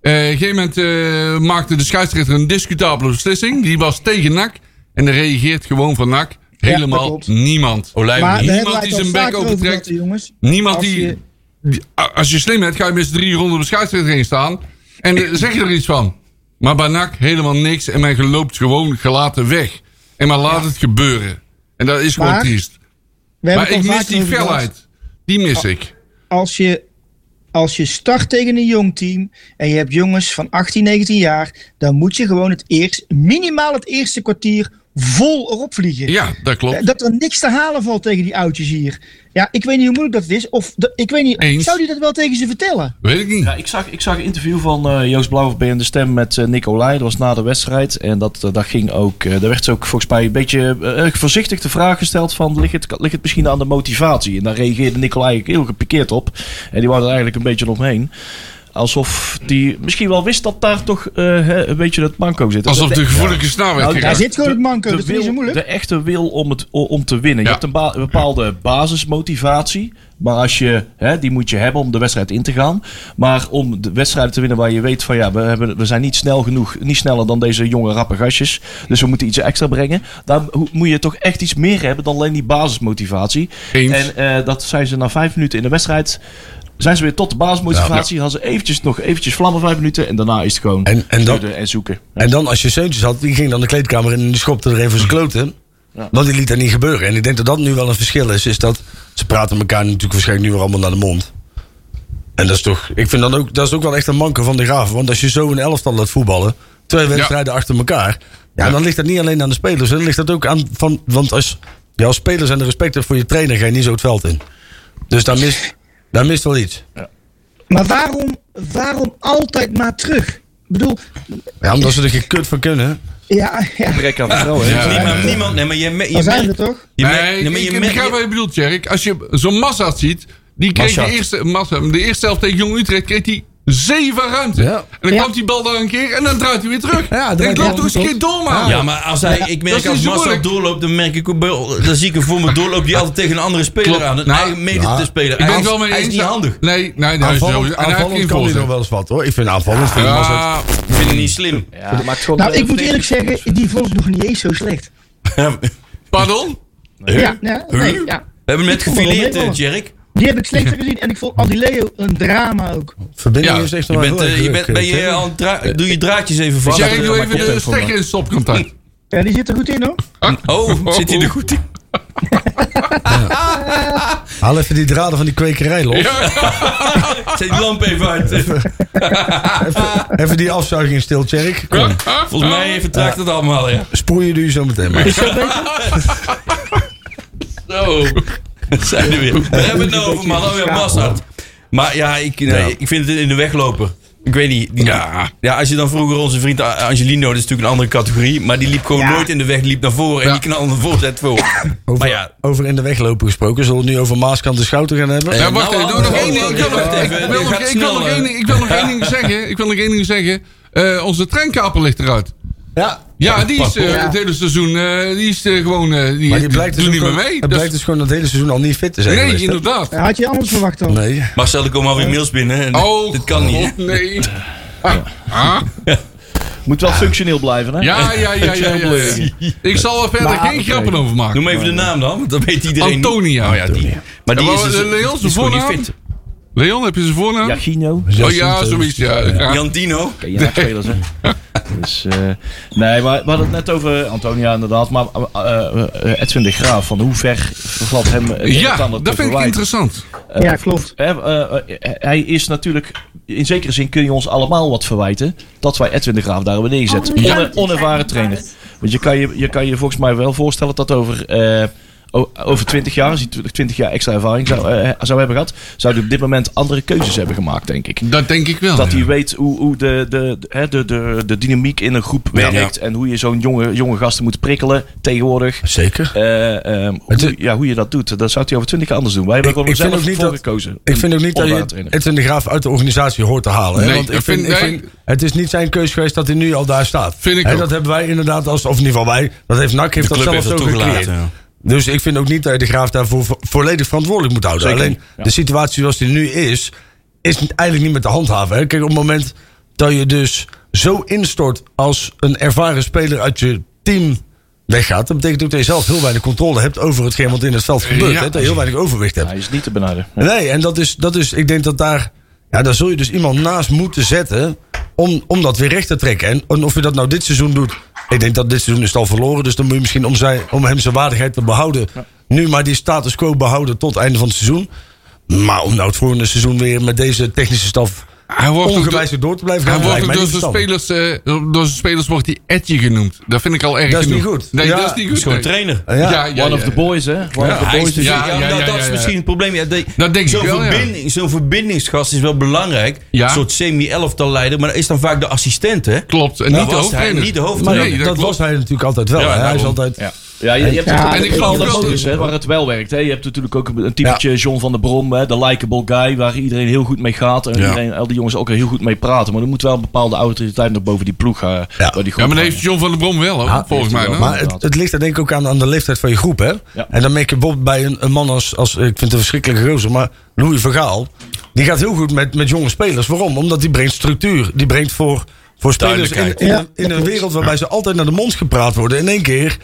E: Eh, op een gegeven moment eh, maakte de scheidsrechter een discutabele beslissing. Die was tegen NAC. En er reageert gewoon van NAC
A: dat
E: helemaal
A: klopt.
E: niemand.
C: Olij
A: Maar
E: Niemand
A: daar hebben wij
E: die
A: het al
E: zijn bek
A: vaker over
E: opentrekt.
A: gehad, hè, jongens.
E: Niemand
A: Als
E: die,
A: je-
E: die- a- Als je slim bent, ga je met z'n drie ronden op de scheidsrechter heen staan. En eh, zeg je er iets van. Maar bij NAC helemaal niks. En men loopt gewoon gelaten weg. En maar laat het gebeuren. En dat is gewoon
A: Maar-
E: triest.
A: We hebben
E: Maar
A: het al
E: ik mis
A: vaker
E: die
A: over gehad.
E: felheid. Die mis
A: Oh.
E: ik.
A: als je, als je start tegen een jong team en je hebt jongens van 18, 19 jaar, dan moet je gewoon het eerst, minimaal het eerste kwartier vol erop vliegen.
E: Ja, dat klopt.
A: Eh, Dat er niks te halen valt tegen die oudjes hier. Ja, ik weet niet hoe moeilijk dat het is. Of de- ik weet niet,
E: Eens.
A: zou die dat wel tegen ze vertellen?
E: Weet ik niet.
F: Ja, ik zag, ik zag een interview van eh, Joost Blauw of BN De Stem met eh Nick Olij. Dat was na de wedstrijd. En dat, eh, dat ging ook, eh, daar werd ze ook volgens mij een beetje eh, erg voorzichtig de vraag gesteld van... Ligt het, ligt het misschien aan de motivatie? En daar reageerde Nick Olij heel gepikeerd op. En die wou er eigenlijk een beetje omheen. Alsof die misschien wel wist dat daar toch eh, hè, een beetje het manco zit.
E: Alsof de gevoelige snaar werd
F: Nou,
E: geraakt.
A: Oh, Daar zit gewoon het manco,
F: de
A: dat is niet
F: wil-
A: zo moeilijk.
F: De echte wil om, het, o- om te winnen.
E: Ja.
F: Je hebt een, ba- een bepaalde basismotivatie. Maar als je, hè, die moet je hebben om de wedstrijd in te gaan. Maar om de wedstrijden te winnen waar je weet van ja, we, hebben, we zijn niet snel genoeg. Niet sneller dan deze jonge rappe gastjes. Dus we moeten iets extra brengen. Daar ho- moet je toch echt iets meer hebben dan alleen die basismotivatie.
E: Eens.
F: En eh, dat zijn ze na vijf minuten in de wedstrijd. Zijn ze weer tot de basismotivatie. Hadden ze eventjes, nog eventjes vlammen vijf minuten. En daarna is het gewoon
D: En- en dat-
F: schudden en zoeken.
D: En dan als je Seuntjes had, die ging dan de kleedkamer in en die schopte er even zijn kloten.
F: Ja.
D: Want die liet dat niet gebeuren. En ik denk dat dat nu wel een verschil is. Is dat ze praten elkaar natuurlijk waarschijnlijk nu weer allemaal naar de mond. En dat is toch, ik vind dat ook, dat is ook wel echt een manke van de graaf. Want als je zo een elftal laat voetballen, twee wedstrijden achter elkaar. Ja,
E: Ja.
D: dan ligt dat niet alleen aan de spelers. Dan ligt dat ook aan van, want als, ja, als spelers en de respect hebt voor je trainer, ga je niet zo het veld in. Dus daar mist, daar mist wel iets.
A: Maar waarom, waarom altijd maar terug? Ik bedoel,
D: Ja, omdat ze er geen kut van kunnen.
A: ja, ja
F: Trek aan vertrouwen. Oh, hè.
C: Nee, maar niemand. Nee, maar je, me- je
A: dan zijn we
C: merkt...
A: er toch?
C: Je merkt-
E: nee,
C: nee,
E: ik,
C: maar je
E: ik
C: merkt-
E: begrijp wat je bedoelt, Jerk. Als je zo'n massa ziet, die kreeg de
D: Massad.
E: eerste, massa, de eerste helft tegen Jong Utrecht kreeg die zeven ruimte.
D: Ja.
E: En dan
G: Ja.
E: komt die bal daar een keer en dan draait hij weer terug.
D: Ja,
E: ik
D: draait
E: denk,
D: hij
E: loop toch eens een
D: terug.
E: keer door, man.
C: Ja, maar als hij, ik
E: Ah, Dat
C: merk
E: is
C: als
E: niet zo
C: Massa
E: moeilijk.
C: doorloopt, dan merk ik ook wel- dan zie ik hem voor me doorloopt die altijd tegen een andere speler
E: Klopt.
C: aan. Een
E: Nou,
C: eigen mede
D: ja.
C: te spelen.
E: Ik ben
C: Hij
E: het
C: is-
E: wel mee
C: Hij
E: eens.
C: is niet handig.
E: Nee, nee, nee. dat is
D: Aanvallend,
E: sowieso- en hij heeft
D: aanvallend
E: geen
D: kan hij
E: voorzet.
D: nog
E: Ah,
D: wel eens wat hoor. Ik vind aanvallend vind ik hem wel eens-
E: Ja,
C: Ik vind het niet
E: *laughs*
C: slim.
F: Ja, dat maakt gewoon
A: Nou,
F: eh,
A: ik moet eerlijk zeggen, die vond ik nog niet eens zo slecht.
E: pardon?
A: Ja, ja, nee, ja.
C: We hebben hem net
A: Ik vond het wel
C: gefileerd, eh,
A: meevallen.
C: Jerk.
A: Die heb ik
E: *laughs*
A: slechter gezien en ik vond Adileo een drama ook.
D: Verbinding
E: Ja,
D: is echt
C: Je
D: wel
C: bent,
D: heel
C: eh,
D: erg
C: je
D: druk,
C: bent, ben
D: eh,
C: je
D: Tim.
C: al aan het draa- doe je draadjes even vast.
E: Jerry, doe even de
C: Oh,
E: stekker in stopcontact.
A: Ja, die zit er goed in hoor.
C: Oh, zit hij er goed
E: *laughs*
C: in?
D: Haal even die draden van die kwekerij los.
C: Zet die lamp even uit.
E: *laughs*
D: Even die afzuiging stil, Tjerk. Kom.
C: Volgens mij vertraagt het allemaal, ja.
D: Sproeien doe je zo meteen maar.
C: Zo.
E: *laughs*
C: Zijn we weer. We hebben het nou over man, alweer Massard. Maar ja ik, nee,
D: Ja.
C: ik vind het in de wegloper. Ik weet niet. die- ja. als je dan vroeger onze vriend A- Angelino, dat is natuurlijk een andere categorie, maar die liep gewoon nooit in de weg, die liep naar voren en
E: Ja.
C: die knalde een voorzet voor.
D: Over,
C: Maar ja,
D: over in de weg lopen gesproken. Zullen we het nu over Maaskant de Schouten gaan hebben?
E: Ja, wacht
C: nou,
E: even. Doe nog
C: oh,
E: één ding. Ik wil
C: oh,
E: nog-
C: wacht even.
E: ik wil
C: Dit
E: nog-
C: gaat
E: ik wil
C: snel,
E: nog
C: hè.
E: één ding- Ik wil nog één ding zeggen. Ik wil nog één ding zeggen. Eh, onze treinkapel ligt eruit.
D: Ja.
E: Ja, die is eh,
A: Ja.
E: het hele seizoen eh, die is eh, gewoon. eh,
D: Maar
E: die
D: die blijkt
E: blijkt
D: dus,
E: doet
D: ook
E: niet meer
D: gewoon,
E: mee.
D: het
E: Dus-
D: blijkt dus gewoon dat hele seizoen al niet fit te zijn
E: Nee,
D: geweest, hè?
E: inderdaad.
A: Ja, Had je anders verwacht dan?
D: Nee.
C: Marcel, er komen alweer mails binnen en
E: Oh,
C: dit kan niet. hè.
E: God, nee. Ah, ah.
F: moet wel functioneel blijven, hè?
E: Ja, ja, ja, ja, ja, ja. Ik zal er verder geen grappen over maken.
C: Noem even de naam dan, want dan weet iedereen. niet.
E: Antonia.
C: Oh ja, die. Maar die
E: Ja,
C: is,
E: maar,
C: dus-
E: eh, Leon,
C: die
E: zijn
C: is gewoon niet
E: voornaam?
C: fit.
E: Leon, heb je zijn voornaam?
F: Ja,
E: *laughs*
F: Gino.
E: Oh ja, zoiets. Ja, ja.
C: Jantino.
F: Ken je spelers, hè? Dus, eh, nee, maar we hadden het net over Antonia inderdaad. Maar eh, eh, eh, Edwin de Graaf, van hoe ver valt hem eh, het een
E: Ja,
F: en ander
E: dat
F: te
E: vind ik
F: verwijten?
E: interessant.
A: Ja, klopt.
F: Hè, eh, eh, hij is natuurlijk, in zekere zin kun je ons allemaal wat verwijten. dat wij Edwin de Graaf daar hebben neergezet.
E: Oh,
F: One- onervaren trainer. Want je kan je, je kan je volgens mij wel voorstellen dat over. eh, o- over 20 jaar, als hij natuurlijk 20 jaar extra ervaring zou, eh, zou hebben gehad, zou hij op dit moment andere keuzes hebben gemaakt, denk ik.
E: Dat denk ik
D: Oh,
E: wel.
F: Dat
E: ja.
F: hij weet hoe, hoe de, de, de, hè, de, de, de dynamiek in een groep werkt. En hoe je zo'n jonge, jonge gasten moet prikkelen tegenwoordig.
D: Zeker.
F: Eh, ehm,
D: Het
F: hoe,
D: is-
F: ja, hoe je dat doet, dat zou hij over twintig jaar anders doen. Wij hebben
D: Ik-
F: er
D: ik vind
F: gewoon zelf
D: ook niet
F: voor
D: dat-
F: gekozen.
D: Ik vind ook niet dat je
F: Opbouwtrainer.
D: Edwin de Graaf uit de organisatie hoort te halen. hè?
E: Nee,
D: Want ik
E: dat
D: vind,
E: vind-
D: ik
E: nee.
D: vind- het is niet zijn keus geweest dat hij nu al daar staat.
E: Vind ik
D: Hè,
E: ook.
D: Dat hebben wij inderdaad, als, of in ieder geval wij, dat heeft NAC heeft
C: De
D: dat
C: club
D: zelf
C: heeft
D: zo
C: dat
D: gecreëerd.
C: toegelaten. ja.
D: Dus ik vind ook niet dat je de Graaf daarvoor vo- volledig verantwoordelijk moet houden.
F: Zeker
D: Alleen
F: niet, ja.
D: de situatie zoals die nu is, is niet- eigenlijk niet meer te handhaven. Hè? Kijk, op het moment dat je dus zo instort als een ervaren speler uit je team weggaat, dat betekent ook dat je zelf heel weinig controle hebt over hetgeen wat in het veld gebeurt.
E: Ja.
D: Hè? Dat je heel weinig overwicht hebt.
F: Hij is niet te benaderen.
D: Nee, en dat is, dat is, ik denk dat daar, ja, daar zul je dus iemand naast moeten zetten om, om dat weer recht te trekken. En, en of je dat nou dit seizoen doet, ik denk dat dit seizoen is het al verloren. Dus dan moet je misschien om, zijn, om hem zijn waardigheid te behouden, nu maar die status quo behouden tot het einde van het seizoen. Maar om nou het volgende seizoen weer met deze technische staf
E: Hij wordt ook door-
D: ongewijzigd door te blijven
E: Hij
D: gaan,
E: wordt
D: lijkt
E: ook
D: mij
E: door
D: niet
E: zijn
D: verstandig.
E: spelers, eh, door zijn spelers wordt hij Edje genoemd. Dat vind ik al erg
D: Dat is niet
E: genoeg.
D: goed.
E: Nee,
D: Ja,
E: dat is niet
C: Die
E: goed.
C: is gewoon
E: nee.
C: trainer.
D: Ja,
E: Ja, ja,
F: One
E: ja,
F: of the
E: ja.
F: boys, hè? One of the
C: hij is
F: boys.
C: dus-
E: Ja,
C: ja,
E: ja,
C: dat-
E: ja,
C: dat is
E: ja.
C: misschien het probleem. Ja, de-
E: Dat denk ik
C: zo'n
E: wel, ja.
C: verbinding, Zo'n verbindingsgast is wel belangrijk.
E: Ja.
C: Een soort semi-elftal leider, maar dat is dan vaak de assistent, hè?
E: Klopt. En
C: Dat
E: niet de
C: was
E: hoofdtrainer.
C: hij, niet de
D: Maar
C: hoofdtrainer.
E: Nee,
D: dat,
E: dat
D: dat
E: klopt.
D: was hij natuurlijk altijd wel.
C: Ja,
D: hè. hij is
C: daarom.
D: altijd...
F: Ja. Ja, je, je hebt
A: Ja,
F: natuurlijk
A: en ik
F: ook
E: geloof
F: andere
E: wel-
F: modus, hè, waar het wel werkt. Hè. Je hebt natuurlijk ook een typetje John van der Brom, hè, de likable guy, waar iedereen heel goed mee gaat. En iedereen, al die jongens ook heel goed mee praten. Maar er moet wel een bepaalde autoriteit nog boven die ploeg gaan.
D: Ja.
F: die groep
E: Ja, maar dat
F: hangen.
E: heeft John van der Brom wel, hoor,
D: Ja,
E: volgens mij. hoor.
D: Maar het, het ligt er denk ik ook aan, aan de leeftijd van je groep, hè?
F: Ja.
D: En dan merk je bijvoorbeeld bij een, een man als, als... Ik vind het een verschrikkelijke gozer, maar Louis Vergaal... die gaat heel goed met, met jonge spelers. Waarom? Omdat die brengt structuur. Die brengt voor, voor spelers in, in,
A: Duidelijkheid.
D: in een wereld waarbij ze altijd naar de mond gepraat worden... in één keer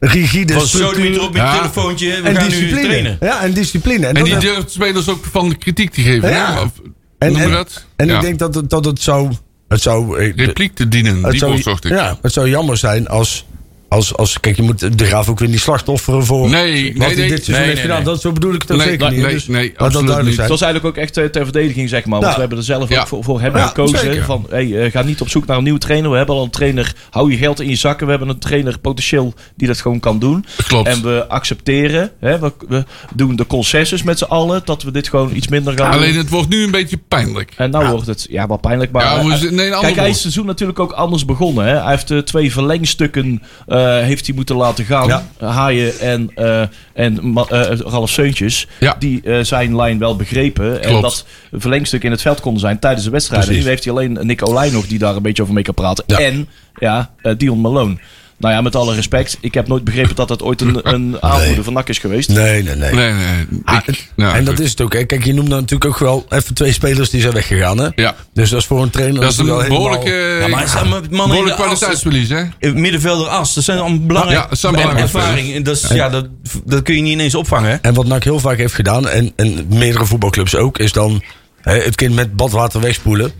D: rigide
C: Van
D: structuur
C: Sodemiet erop met
E: Ja.
C: een telefoontje. We
D: en
C: gaan
D: discipline.
C: nu trainen.
D: Ja, en discipline.
E: En
D: En, dat
E: die
D: heb-
E: durft spelers ook van de kritiek te geven.
D: Ja.
E: hè? Of-
D: en,
E: noem je
D: en-
E: dat?
D: en
E: Ja.
D: ik denk dat het, dat het zou... Het zou eh, de-
E: Repliek te dienen,
D: Het
E: die
D: zou-
E: woord zocht ik.
D: Ja, het zou jammer zijn als. Als, als, kijk, je moet de graaf ook weer niet slachtofferen voor
E: Nee, nee,
D: wat hij
E: nee.
D: dit seizoen
C: Nee,
D: heeft
C: nee,
D: gedaan.
C: nee.
D: Dat, zo bedoel ik het ook
E: Nee,
D: zeker
E: nee,
D: niet.
E: nee,
D: Dus
E: nee,
D: laat dat
E: absoluut
D: duidelijk
E: niet.
D: zijn.
F: Het was eigenlijk ook echt eh, ter verdediging, zeg maar. Want
D: Ja.
F: we hebben er zelf ook
E: Nou, Ja.
F: voor, voor hebben
D: Ja,
F: gekozen.
D: zeker.
F: Van, hey, eh, ga niet op zoek naar een nieuwe trainer. We hebben al een trainer, hou je geld in je zakken. We hebben een trainer potentieel die dat gewoon kan doen.
E: Klopt.
F: En we accepteren, hè, we, we doen de concessies met z'n allen, dat we dit gewoon iets minder gaan
E: Alleen
F: doen.
E: het wordt nu een beetje pijnlijk.
F: En nou wordt het, ja, wel pijnlijk. Maar
E: Ja,
F: eh,
E: hoe is het- nee, een ander
F: kijk, hij is
E: woord.
F: het seizoen natuurlijk ook anders begonnen. Hè. Hij heeft eh, twee verlengstukken eh, eh, heeft hij moeten laten gaan.
D: Ja.
F: Haaien en, eh, en Ma- eh, Ralf Seuntjes,
E: Ja.
F: die eh, zijn lijn wel begrepen. En
E: Klopt.
F: dat verlengstuk in het veld konden zijn tijdens de wedstrijd. En
E: Precies.
F: nu heeft hij alleen Nick Olij nog die daar een beetje over mee kan praten.
E: Ja.
F: En ja, eh, Dion Malone. Nou ja, met alle respect. Ik heb nooit begrepen dat dat ooit een, een aanvoerder van NAC is geweest.
D: Nee, nee, nee.
E: Nee, nee. ik- nou,
D: en dat
E: goed.
D: is Ah, het ook. Hè. Kijk, je noemt dan natuurlijk ook wel even twee spelers die zijn weggegaan. Hè?
E: Ja.
D: Dus dat is voor een trainer.
E: Dat is
D: natuurlijk
E: een
D: wel helemaal-
E: behoorlijke, Ah,
C: Ja, maar het zijn maar mannen in
E: behoorlijk
C: de as, Eh,
E: kwaliteitsverlies, hè?
C: middenvelder as. Dat zijn allemaal belangrijke
E: Ja, dat zijn
C: en
E: belangrijke
C: ervaring. En dat, is, ja, dat, dat kun je niet ineens opvangen. Hè?
D: En wat NAC heel vaak heeft gedaan, en, en meerdere voetbalclubs ook, is dan hè, het kind met badwater wegspoelen.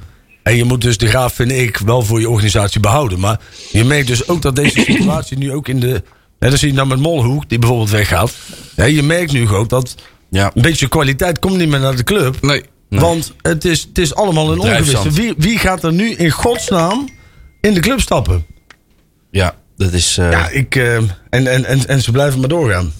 D: En je moet dus de graaf, vind ik, wel voor je organisatie behouden. Maar je merkt dus ook dat deze situatie nu ook in de... Hè, dan zie je nou met Molhoek, die bijvoorbeeld weggaat. Hè, je merkt nu ook dat
C: Ja.
D: een beetje kwaliteit komt niet meer naar de club.
E: Nee.
D: Want het is, het is allemaal een ongewisse.
C: Drijfzand.
D: Wie, wie gaat er nu in godsnaam in de club stappen?
C: Ja, dat is... eh,
D: Ja, ik, eh, en, en, en, en ze blijven maar doorgaan.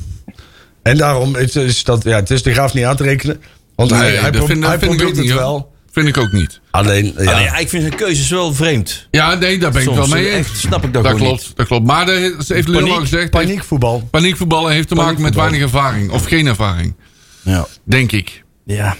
D: En daarom het is dat, ja, het is de graaf niet aan te rekenen. Want hij,
E: Nee,
D: hij,
E: dat
D: pro-
E: vind, dat
D: hij
E: vind ik ook
D: probeert
E: niet,
D: het
E: hoor.
D: wel.
E: Vind ik ook niet.
D: Alleen, ja.
C: Ah, nee, ik vind zijn keuzes wel vreemd.
E: Ja, nee, daar ben ik
C: Soms,
E: wel mee
C: eh,
E: eens.
C: echt, snap ik dat gewoon
E: klopt, Dat klopt. Maar dat heeft heeft Leeuwen al
D: paniek,
E: gezegd. heeft-
D: paniekvoetbal.
E: Paniekvoetballen heeft te maken met weinig ervaring. Of geen ervaring,
C: Ja.
E: denk ik.
C: ja.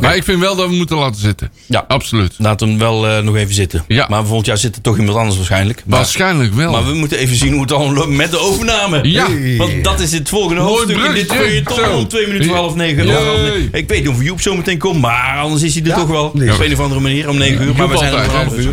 E: Maar ik vind wel dat we moeten laten zitten.
C: Ja.
E: Absoluut.
C: Laat hem wel eh, nog even zitten.
E: Ja.
C: Maar volgend jaar zit er toch iemand anders waarschijnlijk. Maar,
E: Waarschijnlijk wel.
C: maar we moeten even zien hoe het allemaal loopt met de overname.
E: Ja.
C: Want dat is het volgende
E: Mooi
C: hoofdstuk in dit
E: bruggetje.
C: feuilleton
E: Zo.
C: om 2 minuten voor half negen.
E: Jee.
C: Half negen. Ik weet niet of Joep zo meteen komt, maar anders is hij er toch wel.
D: Nee.
C: Op een of andere manier om 9 uur. Maar
E: Joep
C: we zijn er om
E: altijd,
C: half
E: hè.
C: uur.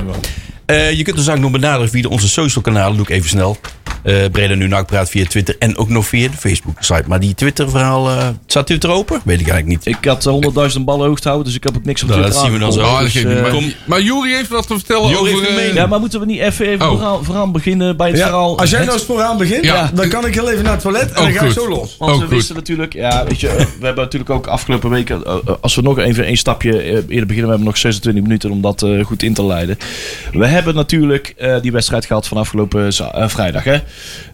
C: Eh, je kunt ons ook nog benaderen via onze social kanalen. Doe ik even snel. Eh Breda nu NAC praat via Twitter en ook nog via de Facebook site. Maar die Twitter verhaal, eh staat Twitter open? Weet ik eigenlijk niet.
F: Ik had eh, 100.000 ballen hoog te houden, dus ik heb ook niks op
C: Nou,
F: Twitter
C: dat zien we dan zo.
F: aangekomen.
E: Oh, dat geeft niet.
F: eh,
E: Maar, maar Juri heeft wat te vertellen
C: Juri
E: over...
C: heeft een
E: eh,
C: mening.
F: Ja, maar moeten we niet even, even
E: Oh.
F: vooraan, vooraan beginnen bij het
D: Ja,
F: verhaal?
D: als jij
F: Het-
D: nou eens vooraan begint,
E: Ja.
D: dan kan ik heel even naar het toilet en
E: Ook
D: dan ga ik
E: goed.
D: zo los.
F: Want
E: Ook
F: we
E: goed.
F: wisten natuurlijk, ja, weet je, eh, we hebben natuurlijk ook afgelopen weken, eh, eh, als we nog even een stapje eh, eerder beginnen, we hebben nog 26 minuten om dat eh, goed in te leiden. We hebben natuurlijk eh, die wedstrijd gehad van afgelopen za- eh, vrijdag, hè.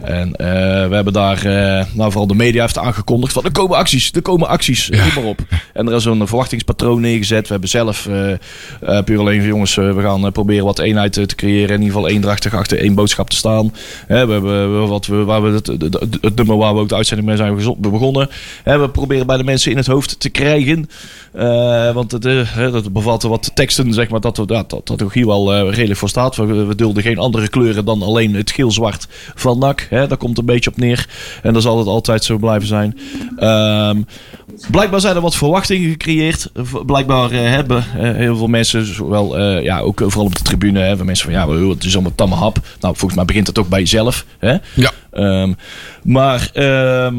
F: En eh, we hebben daar, eh, nou vooral de media heeft aangekondigd van, er komen acties, er komen acties,
E: Ja.
F: roep maar op. En er is een verwachtingspatroon neergezet. We hebben zelf eh, eh, puur alleen van jongens, eh, we gaan eh, proberen wat eenheid eh, te creëren. In ieder geval eendrachtig achter één boodschap te staan. Hè, we hebben eh, wat we, waar we het, het- het- het nummer waar we ook de uitzending mee zijn gezo- begonnen. Hè, we proberen bij de mensen in het hoofd te krijgen. Eh, want het, eh, hè, dat bevat wat teksten, zeg maar, dat, we- ja, dat, dat ook hier wel eh, redelijk voor staat. We, we dulden geen andere kleuren dan alleen het geel-zwart van NAC. Hè, daar komt een beetje op neer. En dat zal het altijd zo blijven zijn. Ehm, Blijkbaar zijn er wat verwachtingen gecreëerd. V- Blijkbaar eh, hebben eh, heel veel mensen, zowel, eh, ja, ook eh, vooral op de tribune, hè, hebben mensen van ja, joh, het is allemaal tamme hap. Nou, volgens mij begint dat ook bij jezelf. Hè?
E: Ja.
F: Ehm, maar ehm,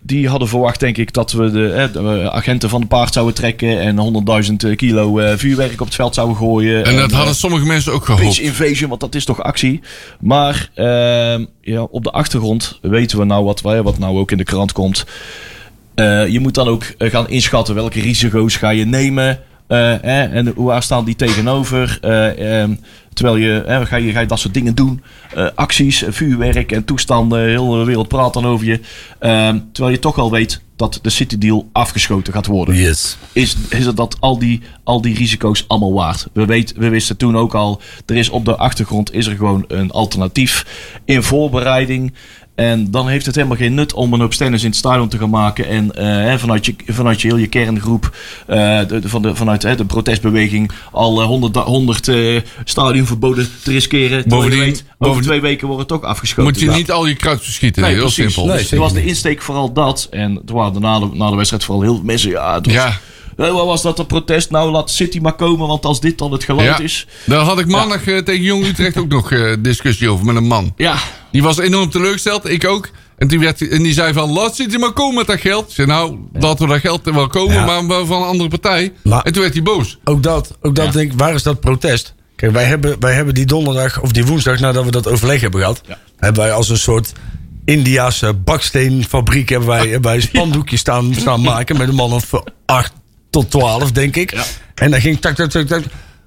F: die hadden verwacht, denk ik, dat we de, eh, de, eh, agenten van de paard zouden trekken en 100.000 kilo eh, vuurwerk op het veld zouden gooien.
E: En dat
F: eh,
E: hadden sommige mensen ook gehoopt.
F: Pitch invasion, want dat is toch actie. Maar ehm, ja, op de achtergrond weten we nou wat, wij- wat nou ook in de krant komt. Eh, je moet dan ook eh, gaan inschatten welke risico's ga je nemen. eh, hè, en hoe waar staan die tegenover? Eh, ehm, terwijl je, hè, ga je, ga je dat soort dingen doen. Eh, acties, eh, vuurwerk en toestanden. Heel de wereld praat dan over je. Ehm, terwijl je toch wel weet dat de City Deal afgeschoten gaat worden
D: Yes.
F: is, is het dat al die, al die risico's allemaal waard. We, weet, we wisten toen ook al, er is op de achtergrond is er gewoon een alternatief in voorbereiding. En dan heeft het helemaal geen nut om een hoop stennis in het stadion te gaan maken. En eh, hè, vanuit, je, vanuit je heel je kerngroep, eh, de, de- van de, vanuit hè, de protestbeweging, al eh, 100, da- 100 eh, stadionverboden te riskeren. Terwijl je
E: Bovendien-
F: weet, over
E: bovendien-
F: twee weken wordt het toch afgeschoten.
E: Moet je
F: Ja.
E: niet al je kruid verschieten.
F: Nee,
E: heel
F: precies.
E: simpel.
F: Dus
D: Nee,
F: toen was de
D: zeker
F: insteek vooral dat. En toen waren er na de, na de wedstrijd vooral heel veel mensen. Ja, het was,
E: Ja.
F: Hé, wat was dat een protest? Nou, laat City maar komen, want als dit dan het geluid
E: Ja.
F: is.
E: Daar had ik maandag eh, tegen Jong Utrecht ook nog eh, discussie over met een man.
F: Ja,
E: Die was enorm teleurgesteld, ik ook. En, die werd, en die zei van, laat City maar komen met dat geld. Ik zei, nou, laten we dat geld er wel komen,
D: Ja.
E: maar, maar van een andere partij.
D: Maar-
E: en toen werd hij boos.
D: Ook dat, ook dat denk ik, waar is dat protest? Kijk, wij hebben, wij hebben die donderdag of die woensdag nadat we dat overleg hebben gehad, hebben wij als een soort Indiaanse baksteenfabriek hebben wij, hebben wij spandoekjes staan, staan maken met een man of 8 tot 12, denk ik. En dan ging tak, tak, tak, tak.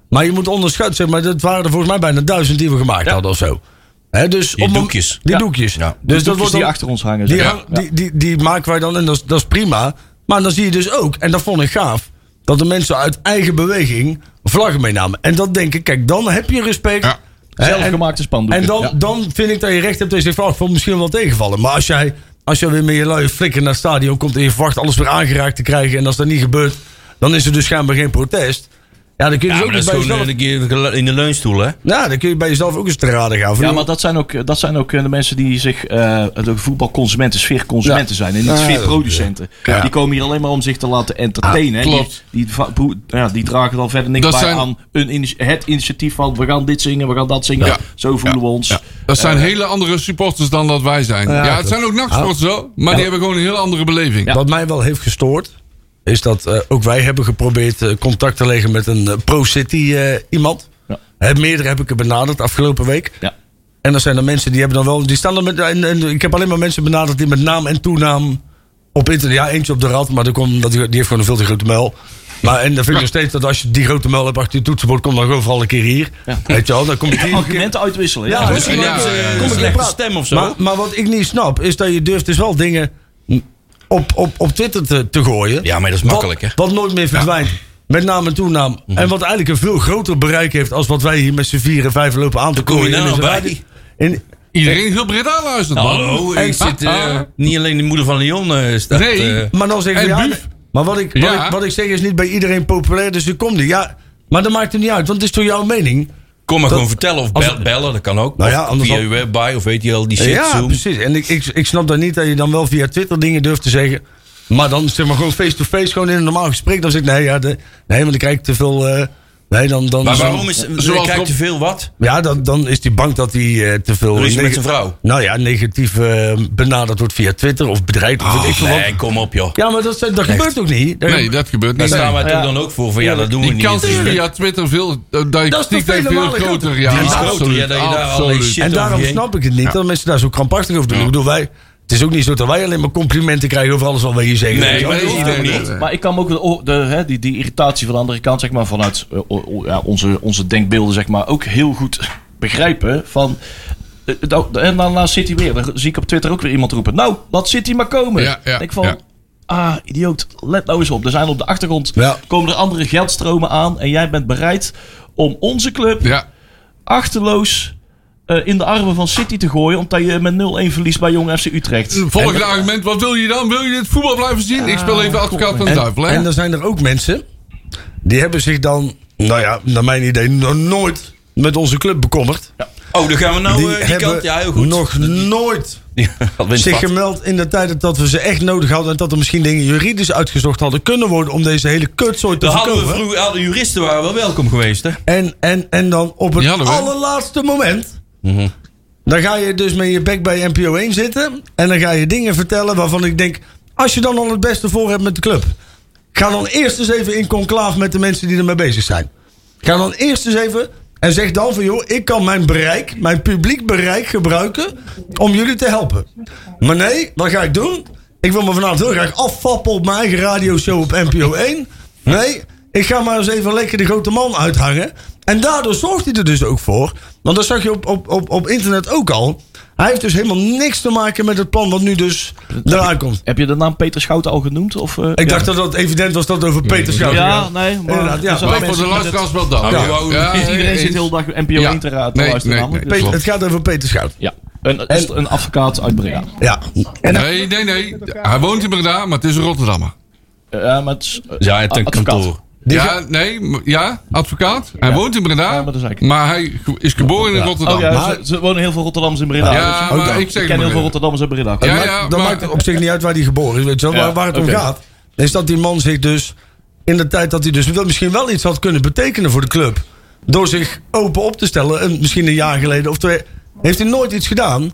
D: Maar je moet onderschatten, zeg maar, dat waren er volgens mij bijna duizend die we gemaakt hadden of zo. Hè, dus
C: Die
D: op een-
C: doekjes.
D: Die
F: Ja.
D: doekjes.
C: Ja.
F: dus
D: Dus dat wordt
F: die
D: dan-
F: achter ons hangen.
D: die,
F: zeg
D: hang-
F: maar. Ja.
D: die, die, die maken wij dan, en dat is, dat is prima. Maar dan zie je dus ook, en dat vond ik gaaf, dat de mensen uit eigen beweging vlaggen meenamen. En dat denk ik, kijk, dan heb je respect.
E: Ja.
F: Zelfgemaakte spandoeken.
D: En dan, dan vind ik dat je recht hebt dat je zegt van, "Oh, ik vond het misschien wel tegenvallen. Maar als jij, als jij weer met je luie flikker naar het stadion komt en je verwacht alles weer aangeraakt te krijgen. En als dat niet gebeurt, dan is er dus schijnbaar geen protest. Ja, dan kun je,
C: Ja,
D: dus
C: maar
D: ook
C: dat
D: eens
C: is
D: bij
C: gewoon eh,
D: jezelf,
C: een keer in de leunstoel, hè?
D: ja, dan kun je bij jezelf ook eens te raden gaan. Van,
F: Ja, maar dat zijn ook, dat zijn ook eh, de mensen die zich eh, de voetbalconsumenten, sfeerconsumenten zijn en niet
D: Ah,
F: sfeerproducenten.
D: Ja.
F: Die komen hier alleen maar om zich te laten entertainen. hè.
E: klopt.
F: Die, die, va- boe- ja, die dragen dan verder niks
E: Dat
F: bij
E: zijn-
F: aan een, initi- het initiatief van we gaan dit zingen, we gaan dat zingen.
E: Ja.
F: Zo voelen we ons.
E: Dat zijn hele andere supporters dan dat wij zijn. Ja, het
D: klopt.
E: zijn ook nachtsporters wel, maar die hebben gewoon een hele andere beleving.
D: Wat mij wel heeft gestoord, is dat eh, ook wij hebben geprobeerd eh, contact te leggen met een eh, pro-city eh, iemand.
F: Ja.
D: Hè, meerdere heb ik er benaderd afgelopen week.
F: Ja.
D: En dan zijn er mensen die hebben dan wel. Die staan dan met, en, en ik heb alleen maar mensen benaderd die met naam en toenaam op internet. Ja, eentje op de rad, maar dat komt, dat, die heeft gewoon een veel te grote muil. Maar en dan vind ik nog steeds dat als je die grote muil hebt achter je toetsenbord, kom dan gewoon vooral een keer hier. Weet je wel, dan kom ik hier.
F: Argumenten uitwisselen. Ja.
D: Ja,
F: Ja.
D: misschien
E: ja,
D: wel eens,
E: ja,
D: eh,
E: ja, ja.
D: kom ik
C: Slechte
D: praten.
C: stem of zo.
D: Maar, maar wat ik niet snap, is dat je durft dus wel dingen op, op, op Twitter te, te gooien.
C: Ja, maar dat is
D: Wat-
C: makkelijk, hè? Mhm.
D: Wat nooit meer verdwijnt. Met naam en toenaam. En wat eigenlijk een veel groter bereik heeft... als wat wij hier met z'n vier en vijf lopen aan te
C: kom je
D: gooien.
C: nou
D: in onze
C: bij?
D: radio- in-
E: Iedereen in heel Breda luistert, man.
C: Hallo, Nou, ik zit eh, niet alleen de moeder van Leon eh staat.
E: Ah. Nee.
C: eh,
D: maar dan zeggen we...
E: En
D: Ja,
E: Buuf?
D: maar wat ik, wat,
E: Ja.
D: ik, wat ik zeg is niet bij iedereen populair, dus ik kom niet. Ja, maar dat maakt het niet uit, want het is toch jouw mening?
C: kom maar
D: Dat-
C: gewoon vertellen of
D: als-
C: bel- bellen, dat kan ook.
D: Nou ja,
C: Of
D: anders
C: via
D: dan-
C: uw webbuy of weet je al die shit.
D: ja,
C: Zoom.
D: precies. En ik, ik, ik snap dan niet dat je dan wel via Twitter dingen durft te zeggen. Maar dan zeg maar gewoon face-to-face, gewoon in een normaal gesprek. Dan zeg ik, nee, ja, de, nee want dan krijg ik te veel... eh, nee, dan, dan,
C: Maar
D: dan-
C: waarom is
E: zoals
C: zoals krijgt te
E: Rob-
C: veel wat?
D: Ja, dan, dan is die bank dat hij eh, te veel...
C: Ruzie met
D: neg-
C: zijn vrouw.
D: Nou ja, negatief eh, benaderd wordt via Twitter of bedreigd.
C: Oh,
D: of weet ik veel wat.
C: nee, kom op joh.
D: Ja, maar dat, dat gebeurt ook niet. Dat-
E: Nee, dat gebeurt
C: Daar
E: niet.
C: staan wij
E: Nee.
C: toch dan ook voor. Van, ja, dat doen we
E: Die
C: niet.
E: kans is
C: natuurlijk.
E: via Twitter veel, eh, dat je
D: Dat
E: klikt
D: is toch
E: heeft
D: vele
E: veel
D: malen
E: groter.
D: groter.
E: Ja,
C: Die is groter,
E: absoluut.
C: ja, dat je daar allerlei
E: absoluut.
C: shit-
D: en daarom
C: overheen.
D: snap ik het niet dat mensen daar zo krampachtig over doen. Ik bedoel, wij, het is ook niet zo dat wij alleen maar complimenten krijgen over alles wat wij hier zeggen.
C: Nee,
D: Weet je wel?
C: maar dat is
E: Nee,
C: iedereen
E: nee,
C: niet.
E: nee.
F: Maar ik kan me ook de, o- de, hè, die, die irritatie van de andere kant, zeg maar, vanuit eh, o- o- ja, onze, onze denkbeelden, zeg maar, ook heel goed *laughs* begrijpen. Van, eh, nou, en dan nou zit hij weer. Dan zie ik op Twitter ook weer iemand roepen. Nou, laat City maar komen.
E: Ja, ja,
F: Denk van,
E: ja.
F: ah, idioot, let nou eens op. Er zijn op de achtergrond
D: Ja.
F: komen er andere geldstromen aan. En jij bent bereid om onze club
E: Ja,
F: achterloos eh, in de armen van City te gooien. Omdat je met 0-1 verliest bij Jong FC Utrecht.
E: volgende argument. Wat wil je dan? Wil je het voetbal blijven zien? Ik speel even advocaat van de
D: En,
E: duivel, hè?
D: en er zijn er ook mensen die hebben zich dan, nou ja, naar mijn idee, nog nooit met onze club bekommerd.
C: *laughs* Oh, dan gaan we nou
D: die
C: eh, die,
D: hebben
C: kant. Ja, heel goed. *laughs*
D: nog nooit zich
C: Zich
D: gemeld in de tijd dat we ze echt nodig hadden. En dat er misschien dingen juridisch uitgezocht hadden kunnen worden om deze hele kutzooi te
C: dan hadden we
D: voorkomen.
C: vroeger, alle juristen waren wel welkom geweest, hè?
D: En, en, en dan op het
E: Die hadden we.
D: allerlaatste moment.
C: Mhm.
D: Dan ga je dus met je bek bij NPO 1 zitten. En dan ga je dingen vertellen waarvan ik denk. Als je dan al het beste voor hebt met de club. Ga dan eerst eens even in conclaaf met de mensen die ermee bezig zijn. Ga dan eerst eens even. En zeg dan van joh, ik kan mijn bereik, mijn publiek bereik gebruiken om jullie te helpen. Maar nee, wat ga ik doen? Ik wil me vanavond heel graag afvappen op mijn eigen radioshow op NPO 1. Nee, ik ga maar eens even lekker de grote man uithangen. En daardoor zorgt hij er dus ook voor. Want dat zag je op, op, op, op internet ook al. Hij heeft dus helemaal niks te maken met het plan wat nu dus eraan komt.
F: Heb je de naam Peter Schouten al genoemd? Of, eh,
D: Ik
F: ja.
D: dacht dat het evident was dat het over Peter
E: Oh,
D: Schouten
F: Ja,
D: gaat.
F: nee, maar-
D: Inderdaad, ja.
F: er zijn
E: Maar voor
F: mensen
E: de
F: met
E: luisteraars wel dan.
C: Ja.
F: Iedereen zit
E: eens.
F: heel de dag NPO
E: Ja.
F: 1 te, ra- te
E: Nee,
F: luisteren.
E: nee,
F: namelijk.
E: nee.
D: Peter-
E: Klopt.
D: het gaat over Peter Schouten.
F: Ja. Een, is een advocaat uit Breda.
D: Ja. En
E: Nee, nee, nee. Hij woont in Breda, maar het is een Rotterdammer.
F: Ja, maar het is, eh,
C: Ja, het een
F: advocaat.
C: kantoor.
E: Ja, nee, m- ja, advocaat. Hij woont in
F: Ja,
E: Breda,
F: maar dat is eigenlijk-
E: maar hij ge- is geboren in Rotterdam.
F: Oh ja,
E: Ja,
F: ze, ze wonen heel veel Rotterdammers in Breda.
E: Ja,
F: dus-
E: maar
F: Ook
E: ik
F: al.
E: zeg maar
F: ken heel veel
E: even.
F: Rotterdammers in Breda.
E: Ja,
D: maakt-
E: ja,
D: dan
E: maar-
D: maakt het op zich niet uit waar hij geboren is. Weet je wel.
F: Ja,
D: waar, waar het
F: oké.
D: om gaat, is dat die man zich dus in de tijd dat hij dus wel misschien wel iets had kunnen betekenen voor de club. Door zich open op te stellen, en misschien een jaar geleden of twee, heeft hij nooit iets gedaan.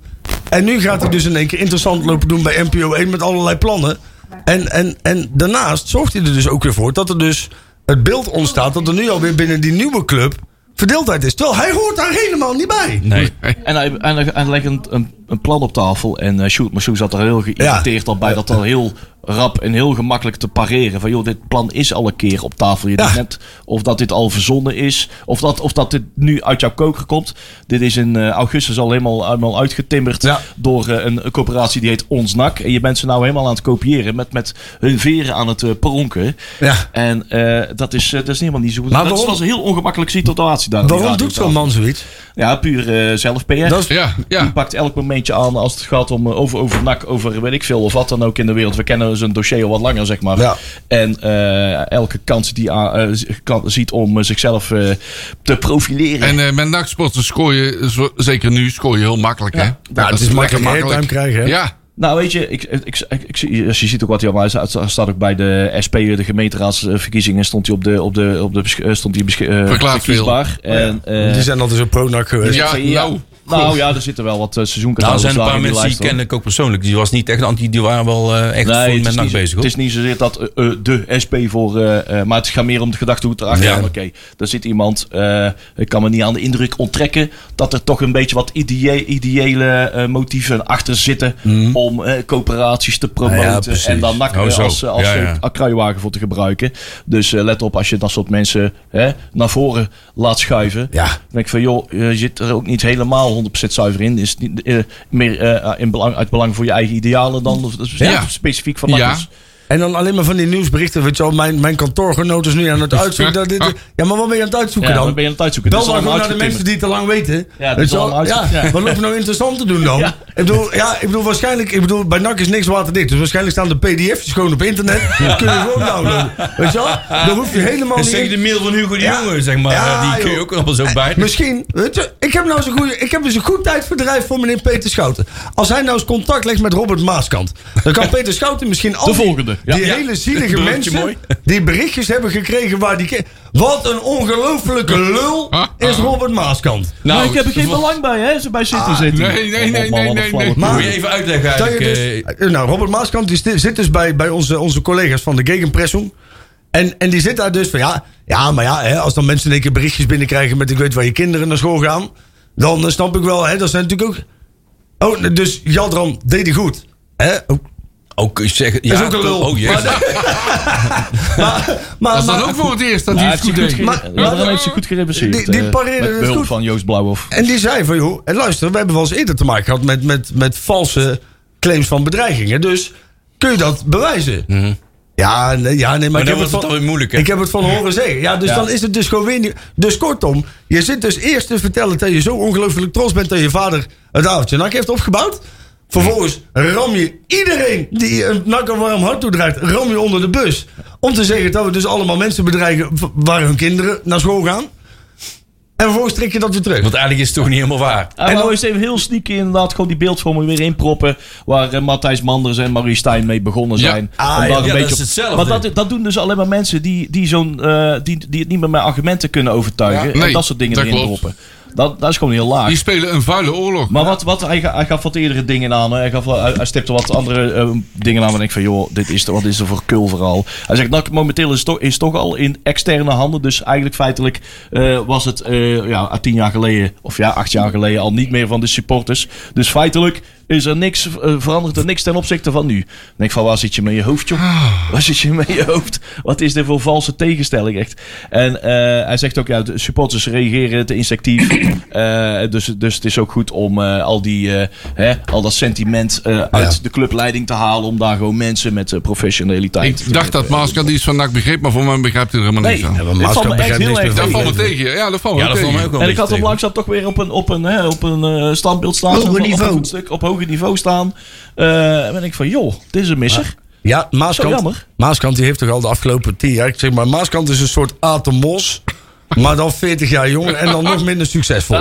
D: En nu gaat hij dus in één keer interessant lopen doen bij NPO 1 met allerlei plannen. En, en, en daarnaast zorgt hij er dus ook weer voor dat er dus het beeld ontstaat dat er nu alweer binnen die nieuwe club verdeeldheid is. Terwijl hij hoort daar helemaal niet bij.
C: Nee.
F: En hij, en hij, hij legt een, een, een plan op tafel. En eh Sjoerd Massou zat er heel geïrriteerd al bij. Dat al heel rap en heel gemakkelijk te pareren. Van joh, dit plan is al een keer op tafel. Je
D: Ja.
F: doet net of dat dit al verzonnen is. Of dat, of dat dit nu uit jouw koker komt. Dit is in eh, augustus al helemaal, helemaal uitgetimmerd.
D: Ja.
F: Door eh, een, een corporatie die heet Onsnak. En je bent ze nou helemaal aan het kopiëren. Met, met hun veren aan het eh, pronken.
D: Ja.
F: En eh, dat, is, eh, dat is helemaal niet zo goed.
D: Maar
F: dat
D: waarom?
F: was een heel ongemakkelijke situatie. presentatie daar. aan Oh, die
D: Waarom
F: radio
D: doet zo'n
F: tafel.
D: man zoiets?
F: Ja, puur eh, zelf PR.
D: Dat is-
E: Ja,
F: Die
E: ja.
F: pakt elk momentje aan als het gaat om eh, over, over NAC, over weet ik veel of wat dan ook in de wereld. We kennen zijn dossier al wat langer, zeg maar.
D: Ja.
F: En eh, elke kans die hij ziet om eh, zichzelf eh, te profileren.
E: En eh met nachtsporten scoor je, zo- zeker nu, scoor je heel makkelijk, hè?
D: Nou, het is makkelijk airtime krijgen, hè?
E: Ja,
F: Nou, weet je, ik, ik, ik, ik zie- als je ziet ook wat hij allemaal hij staat. Hij staat ook bij de SP, de gemeenteraadsverkiezingen, stond hij op de, op de, op de, besch- eh, stond hij besch- eh,
E: Verklaard veel.
F: verkiesbaar. En, eh,
D: Oh Die zijn altijd zo pro-nak geweest.
E: Ja,
F: ja,
E: nou.
F: nou ja, er zitten wel wat seizoen
C: Nou, er
F: seizoenkanalen
C: zijn een paar mensen die ken ik ook persoonlijk. Die was niet echt anti, die waren wel eh, echt
F: Nee,
C: vol
F: het
C: met
F: is,
C: NAC
F: niet,
C: bezig.
F: het
C: hoor.
F: is niet zozeer dat eh, eh, de SP voor. eh, eh, maar het gaat meer om de gedachte hoe het erachter
C: Ja.
F: gaat. Oké, daar zit iemand. eh, ik kan me niet aan de indruk onttrekken. dat er toch een beetje wat idee, ideële eh, motieven achter zitten. om eh, coöperaties te
D: Ja,
F: promoten.
D: precies.
F: en dan NAC
C: Mhm. Oh,
F: eh,
C: zo.
F: als, eh, als
C: Ja,
F: eh,
C: ja.
F: k- kruiwagen voor te gebruiken. Dus eh, let op als je dat soort mensen hè, naar voren laat schuiven.
D: Ja.
F: Dan denk ik van joh, je zit er ook niet helemaal 100% zuiver in. Is het niet eh, meer eh, in belang, uit belang voor je eigen idealen dan of- dat is
E: Ja.
F: specifiek van dus. NAC
E: Ja.
F: is.
D: En dan alleen maar van die nieuwsberichten. Weet je wel, mijn, mijn kantoorgenoot is nu
F: *laughs*
D: aan het uitzoeken. dat dit, ja, maar wat ben je aan het uitzoeken
F: Ja,
D: dan?
F: dan ben je aan het uitzoeken.
D: Bel
F: Het is
D: dan gewoon
F: allemaal
D: naar de mensen die het te lang weten.
F: Ja, het
D: Weet
F: is
D: je wel,
F: allemaal
D: ja,
F: uitzoeken, ja.
D: Wat lopen nou interessant te doen dan?
F: *laughs* Ja.
D: Ik, bedoel, ja, ik bedoel, waarschijnlijk, ik bedoel, bij NAC is niks waterdicht. Dus waarschijnlijk staan de pdf's gewoon op internet. Dat kun je gewoon downloaden. Weet je wel? Dan hoef je helemaal
C: En
D: niet...
C: zeg de mail van Hugo de
D: Ja.
C: Jonge, zeg maar.
D: Ja,
C: eh, die kun je
D: joh.
C: ook allemaal zo bij.
D: Misschien, weet je, ik heb nou zo'n goede, ik heb dus een goed tijdverdrijf voor meneer Peter Schouten. Als hij nou eens contact legt met Robert Maaskant, dan
F: *laughs*
D: kan Peter Schouten misschien al die,
F: volgende, ja.
D: die
C: Ja.
D: hele
F: *laughs*
D: zielige
C: Bruggetje
D: mensen
C: mooi.
D: die berichtjes hebben gekregen waar die, ke- wat een ongelofelijke lul
F: Ah,
D: is Robert Maaskant.
C: Nou,
F: maar ik heb er geen
C: dat-
F: belang bij, hè? Ze bij City zitten.
E: nee, nee, nee,
F: Oh, man,
E: nee,
F: wat
E: nee, nee.
F: een flauwe kul.
D: Maar-
C: Moet je even uitleggen
D: Stel je
C: eigenlijk.
D: dus,
C: eh,
D: eh, nou, Robert Maaskant die sti- zit dus bij, bij onze, onze collega's van de Gegenpressung. En, en die zit daar dus van ja, ja maar ja, hè, als dan mensen in één keer berichtjes binnenkrijgen met ik weet waar je kinderen naar school gaan, dan eh, snap ik wel, hè, dat zijn natuurlijk ook. Oh, dus Jadran deed hij goed. Hè? Ook-
C: eh, ook zeggen.
D: is
C: Ja,
D: ook een lul.
C: Oh, jee.
D: Maar- Maar, maar,
E: Dat is dan
D: maar-
E: ook voor het eerst dat
F: Hij
E: hij het
F: heeft
E: goed
F: ze goed
E: deed.
F: gere-
D: Maar-
F: Ja, daarom heeft ze goed gerebaseerd.
D: Die- die
F: eh,
D: pareren
F: met
D: het
F: behulp
D: goed.
F: van Joost Blauwhof.
D: En die zei van, joh, en luister, we hebben wel eens eerder te maken gehad met, met, met valse claims van bedreigingen. Dus kun je dat bewijzen? Ja, nee, ja, nee, maar,
C: Maar
D: ik heb
C: dan
D: het
C: wordt het
D: van,
C: alweer moeilijk, hè?
D: Ik heb het van horen zeggen. Ja, dus
F: Ja.
D: dan is het dus gewoon weer niet. Dus kortom, je zit dus eerst te vertellen dat je zo ongelooflijk trots bent dat je vader het avondje nak heeft opgebouwd. Vervolgens ram je iedereen die een nak een warm hart toedraagt, ram je onder de bus. Om te zeggen dat we dus allemaal mensen bedreigen v- waar hun kinderen naar school gaan. En vervolgens trek je dat weer terug.
C: *laughs* Want eigenlijk is het toch niet helemaal waar.
F: En nou is het even heel sneaky inderdaad gewoon die beeldvorming weer inproppen. Waar eh, Matthijs Manders en Marie Stijn mee begonnen
E: Ja.
F: zijn.
D: Ah,
F: Om daar
D: ja,
F: een
C: ja,
F: beetje
C: dat is
F: op-
C: hetzelfde.
F: Maar dat, dat doen dus alleen maar mensen die, die, zo'n, eh, die, die het niet meer met argumenten kunnen overtuigen.
E: Ja.
F: en
E: Nee,
F: dat soort dingen
E: dat
F: erin
E: klopt.
F: droppen. Dat, dat is gewoon heel laag.
E: Die spelen een vuile oorlog.
F: Maar wat, wat, hij, ga- hij gaf wat eerdere dingen aan. hè. Hij, gaf, wel- hij, hij stipte wat andere eh, dingen aan. En ik van, joh, dit is, de- wat is er voor kul vooral? Hij zegt, nou, momenteel is het toch, is het toch al in externe handen. Dus eigenlijk feitelijk eh, was het eh, ja, tien jaar geleden, of ja, acht jaar geleden al niet meer van de supporters. Dus feitelijk is er niks, eh, verandert er niks ten opzichte van nu. Dan denk ik van, waar zit je met je hoofd, joh?
A: Ah.
F: Waar zit je met je hoofd? Wat is dit voor valse tegenstelling, echt? En eh, hij zegt ook, ja, de supporters reageren te instinctief. *clears throat* Eh, dus, dus het is ook goed om eh, al, die, eh, hè, al dat sentiment eh, uit de clubleiding te halen. Om daar gewoon mensen met eh, professionaliteit...
E: Ik dacht dat Maaska die iets van NAC begreep, maar voor mij begrijpt hij er helemaal
F: Nee,
E: niks van.
F: dit valt me
D: Maaskant
F: echt
D: begrijpt
F: heel
D: niks
F: erg
D: meer
E: Dat valt me
F: tegen.
E: tegen. Ja, dat valt me
C: Ja, dat vond mij
E: tegen.
C: ook wel
F: En
C: een
F: ik
C: beetje
F: had hem
C: tegen.
F: langzaam toch weer op een, op een, hè, op een eh, standbeeld staan.
A: Hoger
F: Op een- op
A: niveau.
F: Een stuk, op hoger niveau staan. Eh en ben ik van, joh, dit is een misser.
D: Ja,
F: Zo
D: Maaskant,
F: jammer.
D: Maaskant die heeft toch al de afgelopen tien jaar. Ik zeg maar, Maaskant is een soort Atemos. Maar dan 40 jaar jonger en dan nog minder succesvol.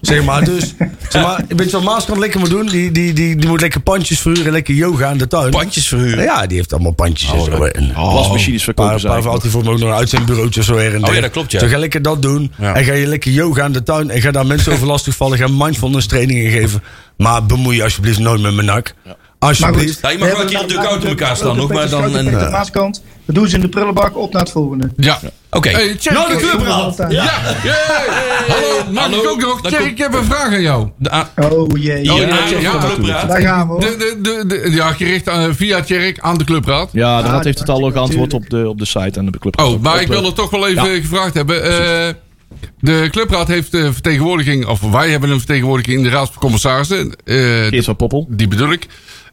D: Zeg maar, dus. Zeg maar, weet je wat Maaskant lekker moet doen? Die, die, die, die moet lekker pandjes verhuren, lekker yoga in de tuin.
C: Pandjes Oh, verhuren.
D: Ja, die heeft allemaal pandjes en zo. En
E: Oh,
D: een
F: Wasmachines verkopen
D: paar,
F: ze
D: paar had hij voor me ook nog een uitzendbureautje of zo her en
C: Oh ja,
D: der.
C: dat klopt, ja.
D: Dus ga lekker dat doen.
C: Ja.
D: En ga je lekker yoga in de tuin. En ga daar mensen over lastig vallen. Ga mindfulness trainingen geven. Maar bemoei je alsjeblieft nooit met mijn nak. Alsjeblieft.
C: Ja, je mag wel een keer op de koud in elkaar slaan, nog maar dan...
A: Aan
C: en- eh.
A: de maaskant. Dat doen ze in de prullenbak op naar het volgende.
E: Ja.
C: Oké.
E: Hey, Tjerk,
D: Nou, de
E: ik-
D: club eraan.
A: Altijd.
E: Ja. Hey, Hallo, mag
C: Hallo.
E: ik ook nog?
C: Dan
E: Tjerk, ik
C: komt-
E: heb een vraag aan jou.
C: De a-
A: Oh jee.
C: Ja,
E: ja,
C: ja,
E: ja,
C: ja, praat.
A: Daar gaan we hoor.
E: De, de, de, de- ja, gericht aan, via Tjerk aan de clubraad.
F: Ja, de
A: Ah,
F: Rad heeft het al ook
A: natuurlijk.
F: geantwoord op de, op de site en de club. eh,
E: Oh, maar ik wil
F: het
E: het toch wel even gevraagd hebben. Eh, de clubraad heeft de vertegenwoordiging, of wij hebben een vertegenwoordiging in de raad van commissarissen. Eh,
F: Geert van Poppel.
E: die bedoel ik.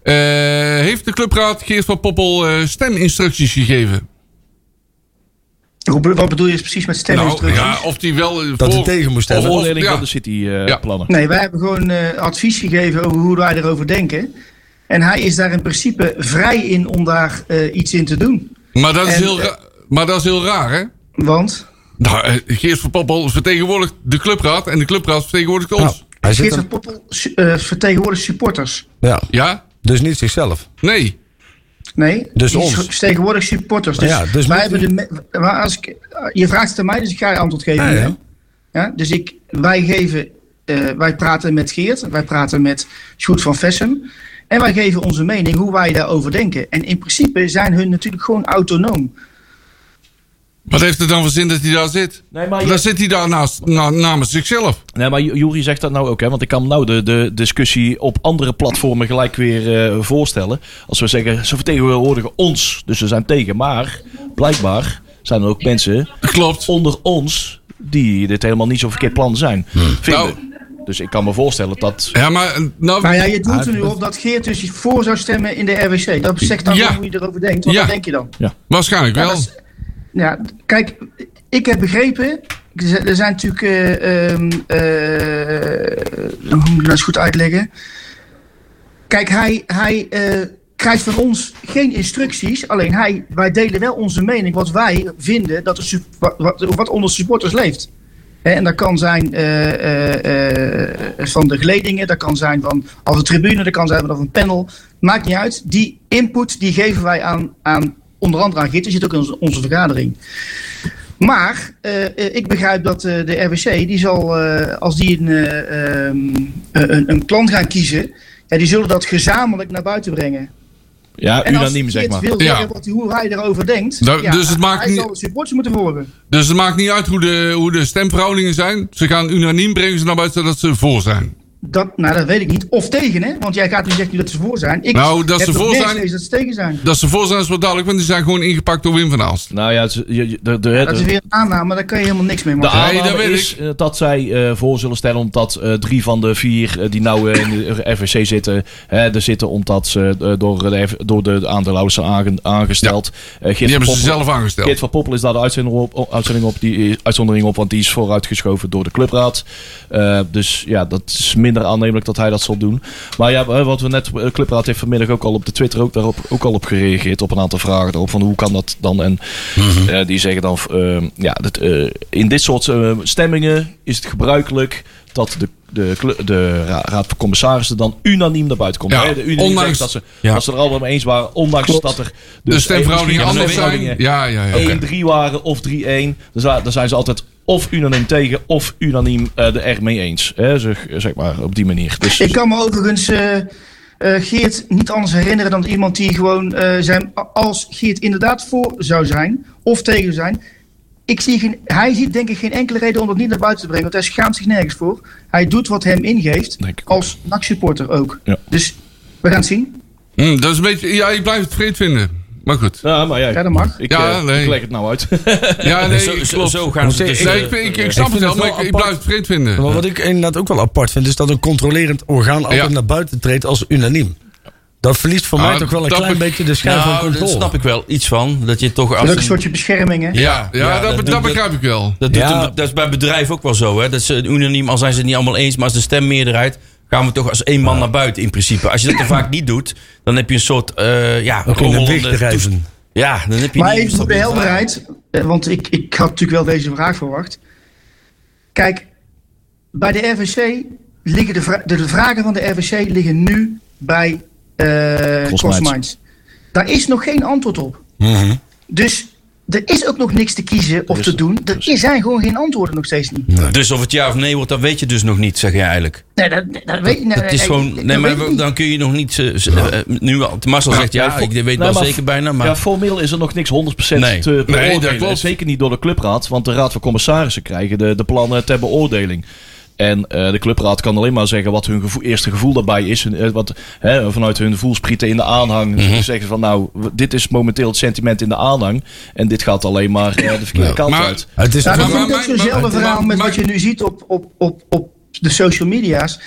E: Eh, heeft de clubraad Geert van Poppel eh, steminstructies gegeven?
A: Hoe- Wat bedoel je precies met
E: Nou,
A: steminstructies?
E: ja, of die wel... eh,
D: Dat hij
E: voor-
D: tegen moest stemmen.
E: Of-
F: Beoordeling
E: ja.
F: van de eh,
E: Ja.
F: City-plannen.
A: Nee, wij hebben gewoon eh, advies gegeven over hoe wij erover denken. En hij is daar in principe vrij in om daar eh, iets in te doen.
E: Maar dat, is
A: En,
E: heel
A: eh,
E: ra- maar dat is heel raar, hè?
A: Want
E: Nou, eh, Geert van Poppel vertegenwoordigt de clubraad en de clubraad vertegenwoordigt
D: Nou,
E: ons.
D: hij zit
A: Geert van
D: hem-
A: Poppel su- eh, vertegenwoordigt supporters.
D: ja,
E: Ja?
D: dus niet zichzelf.
E: Nee.
A: Nee,
D: Dus
A: die
D: ons.
A: vertegenwoordigt supporters. Dus,
D: Ja, dus
A: wij
D: moet-
A: hebben de. me- Maar als ik, eh, je vraagt het aan mij, dus ik ga je antwoord geven.
D: Ja,
A: nu,
D: ja.
A: hè? Ja, dus ik, wij, geven, eh, wij praten met Geert, wij praten met Sjoerd van Vessem. En wij geven onze mening hoe wij daarover denken. En in principe zijn hun natuurlijk gewoon autonoom.
E: Wat heeft het dan voor zin dat hij daar zit?
F: Nee, maar je-
E: Dan zit hij daar naast, na- namens zichzelf.
F: Nee, maar Juri zegt dat nou ook, hè? Want ik kan nou de, de discussie op andere platformen gelijk weer eh, voorstellen. Als we zeggen, ze vertegenwoordigen ons, dus ze zijn tegen. Maar blijkbaar zijn er ook mensen
E: Klopt.
F: onder ons die dit helemaal niet zo'n verkeerd plan zijn.
E: Hm. Nou.
F: Vinden. Dus ik kan me voorstellen dat.
E: Ja, maar... eh, Nou,
A: Nou ja, je
D: Ah,
A: doet er nu op dat Geert dus voor zou stemmen in de RWC. Dat zegt dan
E: Ja.
A: wel hoe je erover denkt. Wat
E: Ja.
A: dat denk je dan?
E: waarschijnlijk wel.
A: dat is- Ja, kijk, ik heb begrepen. Er zijn natuurlijk. eh, ehm, eh, hoe moet ik dat eens goed uitleggen? Kijk, hij, hij eh, krijgt van ons geen instructies. Alleen hij, wij delen wel onze mening. Wat wij vinden dat er, sup- wat, wat, wat onder supporters leeft. Hè, En dat kan zijn eh, eh, eh, van de geledingen, dat kan zijn van als een tribune, dat kan zijn van een panel. Maakt niet uit. Die input die geven wij aan, aan onder andere aan Gitter, zit ook in onze, onze vergadering. Maar eh, eh, ik begrijp dat eh, de RWC, die zal, eh, als die een, eh, ehm, eh, een, een plan gaan kiezen, ja, die zullen dat gezamenlijk naar buiten brengen.
F: Ja,
A: als
F: unaniem
A: Geert
F: zeg maar.
A: wil
E: Ja.
A: zeggen wat, hij- hoe hij erover denkt,
E: Dat-
A: ja,
E: dus het maakt
A: hij
E: niet-
A: zal de supporters moeten horen.
E: Dus het maakt niet uit hoe de, hoe de stemverhoudingen zijn. Ze gaan unaniem brengen ze naar buiten dat ze voor zijn.
A: Dat, nou, dat weet ik niet. Of tegen, hè? Want jij gaat nu zeggen dat ze voor zijn. Ik
E: Nou, dat
A: heb
E: ze
A: nog
E: voor
A: nergens
E: zijn-
A: gelezen dat ze tegen zijn.
E: Dat ze voor zijn is wel duidelijk, want die zijn gewoon ingepakt door Wim van Aalst.
F: Nou ja, het is- je- je- de, de, de,
A: Dat is weer een aanname, daar kan je helemaal niks mee
F: de
A: maken.
E: Nee,
F: aanname
E: dat weet
F: is
E: ik.
F: eh, dat zij eh, voor zullen stellen omdat eh, drie van de vier eh, die nou eh, in de RVC zitten, hè, er zitten omdat ze eh, door, de, F- door de aandeelhouders zijn aange- aangesteld. Eh,
E: Die
F: Geert van
E: hebben ze
F: Poppel-
E: zelf aangesteld.
F: Geert van Poppel is daar de uitzending op, o- uitzending op, die, eh, uitzondering op, want die is vooruitgeschoven door de clubraad. Eh, dus ja, dat is minder aannemelijk dat hij dat zal doen. Maar ja, eh, wat we net, de clubraad heeft vanmiddag ook al op de Twitter ook, daarop, ook al op gereageerd, op een aantal vragen daarop, van hoe kan dat dan? En
E: Mhm.
F: eh, die zeggen dan, eh, ja, dat, eh, in dit soort eh, stemmingen is het gebruikelijk dat de de, kle- de ra- raad van commissarissen dan unaniem naar buiten komt.
E: Ja,
F: Hè, de unaniem
E: ondanks-
F: zegt dat ze,
C: Ja.
F: dat ze er allemaal mee eens waren, ondanks dat er
E: De stemverhoudingen
F: eh, misschien
E: anders zijn.
F: stemverhoudingen
E: Ja, ja, ja. oké.
F: 1-3 waren of 3-1. Dan, za- dan zijn ze altijd of unaniem tegen of unaniem eh er mee eens. Hè? Zeg, zeg maar op die manier.
A: *laughs*
F: Dus,
A: Ik kan me overigens eh, eh, Geert niet anders herinneren dan iemand die gewoon eh, zijn. Als Geert inderdaad voor zou zijn of tegen zijn. Ik zie geen, hij ziet denk ik geen enkele reden om dat niet naar buiten te brengen. Want hij schaamt zich nergens voor. Hij doet wat hem ingeeft.
F: Denk ik ook.
A: Als NAC-supporter ook.
F: Ja.
A: Dus we gaan het zien.
E: Hm, dat is een beetje... Ja, je blijft het vreemd vinden. Maar goed.
F: ja, Nou, maar ja,
A: Ja, dat mag.
F: Ik,
E: Ja,
F: eh,
E: nee.
F: ik leg het nou uit.
E: Ja, nee,
C: zo, zo,
E: klopt.
C: zo gaan ze dus...
E: Nee,
C: eh,
E: ik, ik, ik snap
D: Ik
E: het
D: vind
E: wel,
D: het
E: maar
D: wel
E: ik, ik
D: apart.
E: blijf het vreemd vinden.
D: Maar wat ik inderdaad ook wel apart vind, is dat een controlerend orgaan altijd
E: Ja.
D: naar buiten treedt als unaniem. Dat verliest voor
E: Ah,
D: mij toch wel een
E: dat
D: klein
E: be-
D: beetje de schijn van
C: nou, daar
D: controle.
C: snap ik wel iets van. Dat je toch...
A: Dat
C: Als
A: is ook een
C: een-
A: soortje bescherming. Hè?
E: Ja, ja,
C: ja,
E: dat, dat,
C: dat doet-
E: begrijp ik wel.
C: Dat, doet
D: Ja.
C: een- dat is bij bedrijven ook wel zo. Hè? Dat ze unaniem, al zijn ze het niet allemaal eens, maar als de stemmeerderheid gaan we toch als één man naar buiten in principe. Als je dat er vaak niet doet, dan heb je een soort eh ja,
D: Ook in de
C: rommelende
D: wichtigheid.
C: toestand. Ja, dan heb je
A: Maar
C: niet-
A: even voor de helderheid, eh, want ik, ik had natuurlijk wel deze vraag verwacht. Kijk, bij de RVC liggen de, vra- de, de vragen van de RVC liggen nu bij eh
F: Crossminds.
A: Crossminds. Daar is nog geen antwoord op.
C: Mhm.
A: Dus er is ook nog niks te kiezen of te doen. Er is- zijn gewoon geen antwoorden nog steeds niet.
C: Dus of het ja of nee wordt, dat weet je dus nog niet, zeg je eigenlijk.
A: Nee, dat, dat weet ik
C: Het is gewoon, nee, maar we-
A: dan...
C: dan kun je nog niet. eh, z- eh, nu al, Marcel zegt ja,
F: Ja,
C: ik weet
F: nee,
C: wel
F: maar-
C: zeker bijna, maar
F: ja, formeel is er nog niks 100%
C: Nee.
F: te
E: Nee,
F: beoordelen.
E: dat klopt.
F: Zeker niet door de clubraad, want de raad van commissarissen krijgen de, de plannen ter beoordeling. En eh, de clubraad kan alleen maar zeggen wat hun gevo- eerste gevoel daarbij is. Hun, eh, wat, hè, vanuit hun voelsprieten in de aanhang
C: Mhm.
F: zeggen ze van nou, w- dit is momenteel het sentiment in de aanhang. En dit gaat alleen maar eh, de verkeerde kant
E: Maar-
F: uit.
D: Het is
A: Ja,
E: Maar-
A: dat
D: toch-
A: vind ik
E: maar-
A: ook
E: maar-
A: zo'nzelfde
E: maar-
A: verhaal
E: maar-
A: met
E: maar-
A: wat je nu ziet op, op, op, op de social media's.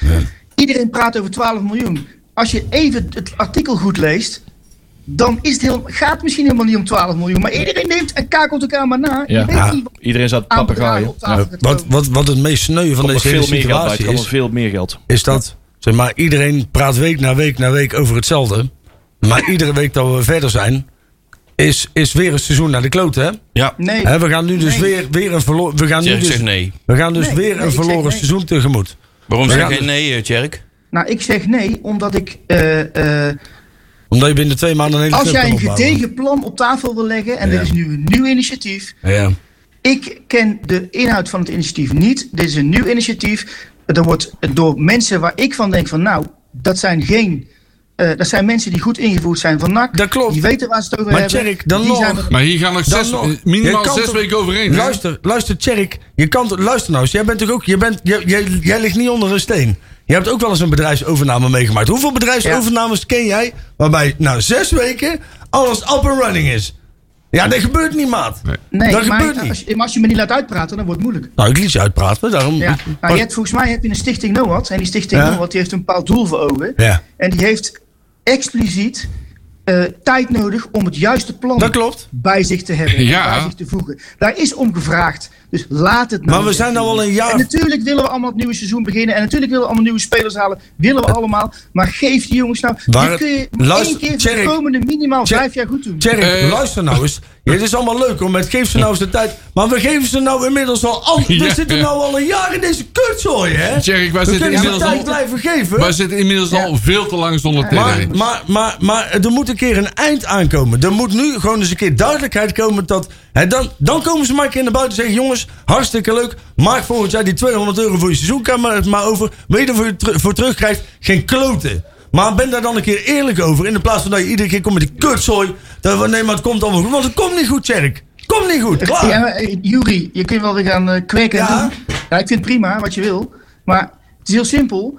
A: Iedereen praat over 12 miljoen. Als je even het artikel goed leest, dan is het heel, gaat het misschien helemaal niet om 12 miljoen. Maar iedereen neemt en kakelt elkaar maar na.
F: Ja.
A: Je weet niet wat
F: Iedereen zat
A: aan bedragen
F: papegaaien.
A: op tafel gaat
D: Wat,
A: komen.
D: wat, wat het meest sneu van
F: Komt er
D: deze hele
F: veel meer geld bij.
D: situatie
F: Er komt er
D: is,
F: veel meer geld.
D: is dat zeg maar, iedereen praat week na week na week over hetzelfde. Maar iedere week dat we verder zijn, is, is weer een seizoen naar de klote. Hè?
C: Ja.
A: Nee,
D: Hè, we gaan nu dus
A: Nee.
D: weer, weer een, verlo- we gaan nu
C: Tjerk
D: dus,
C: zegt nee.
D: we gaan dus
A: Nee,
D: weer
A: nee,
D: een
A: ik zeg
D: verloren
A: nee.
D: seizoen tegemoet.
C: Waarom
D: We
C: zeg
D: gaan
C: jij
D: dus-
C: nee, eh, Tjerk?
A: nou ik zeg nee, omdat ik... eh, eh,
D: Omdat je binnen twee maanden een hele
A: als
D: club
A: jij
D: kan
A: een
D: opbouwen.
A: gedegen plan op tafel wil leggen, en
D: Ja.
A: er is nu een nieuw initiatief,
D: Ja.
A: Ik ken de inhoud van het initiatief niet. Dit is een nieuw initiatief. Er wordt door mensen waar ik van denk van nou, dat zijn geen... eh, dat zijn mensen die goed ingevoerd zijn van NAC.
D: Dat klopt.
A: Die weten waar ze het over
D: Maar
A: hebben.
D: Tjerk, dan
A: die
D: nog.
A: zijn er-
E: Maar hier gaan nog
D: Dan
E: zes,
D: nog.
E: eh,
D: Je kan
E: minimaal zes
D: toch-
E: weken overheen. hè?
D: Luister, luister, Tjerk. Je kan, t- luister nou eens. Jij bent toch ook. Je bent, jij, jij, jij ligt niet onder een steen. Je hebt ook wel eens een bedrijfsovername meegemaakt. Hoeveel bedrijfsovernames ken jij waarbij na zes weken alles up and running is? Ja, dat gebeurt niet, maat.
A: Nee,
D: dat
A: maar,
D: gebeurt niet.
A: Als, je- maar als je me niet laat uitpraten, dan wordt het moeilijk.
D: Nou, ik liet je uitpraten, daarom.
A: Ja.
D: Maar-
A: Nou, je hebt, volgens mij heb je een stichting NOAD. En die stichting
D: Ja.
A: NOAD die heeft een bepaald doel voor ogen.
D: Ja.
A: En die heeft expliciet eh, tijd nodig om het juiste plan
D: Dat klopt.
A: bij zich te hebben. en
E: Ja.
A: Bij zich te voegen. Daar is om gevraagd. Dus laat het nou.
D: Maar we zijn nou al een
A: En
D: jaar.
A: natuurlijk willen we allemaal het nieuwe seizoen beginnen. En natuurlijk willen we allemaal nieuwe spelers halen. Willen we allemaal. Maar geef die jongens nou.
D: Waar
A: dit
D: het-
A: kun je
D: luister,
A: één keer voor de
D: Tjerk,
A: komende minimaal
D: Tjerk,
A: vijf jaar goed doen.
D: Tjerk,
E: Eh.
D: luister nou eens. Ja, het is allemaal leuk om met geef ze nou eens de tijd. Maar we geven ze nou inmiddels al. al
E: *laughs*
D: we
E: Ja.
D: zitten nou al een jaar in deze kutzooi, hè?
E: Tjerk, wij
D: we
E: zitten
D: kunnen ze
E: inmiddels
D: tijd
E: al,
D: blijven geven.
E: wij zitten inmiddels al veel te lang zonder
D: Maar,
E: tv.
D: maar, maar, maar er moet een keer een eind aankomen. Er moet nu gewoon eens een keer duidelijkheid komen. Dat, hè, dan, dan komen ze maar een keer naar buiten en zeggen: jongens, hartstikke leuk. Maak volgend jaar die 200 euro voor je seizoenkamer maar over. Weet je ervoor je teru- voor terugkrijgt? Geen kloten. Maar ben daar dan een keer eerlijk over. In de plaats van dat je iedere keer komt met die kutzooi. Dat, we- nee, maar het komt allemaal goed. Want het komt niet goed, Tjerk. Komt niet goed. Klaar.
A: Ja, maar, eh, Juri, je kunt wel weer gaan eh, kweken. en
D: Ja.
A: doen. ja, ik vind het prima wat je wil. Maar het is heel simpel.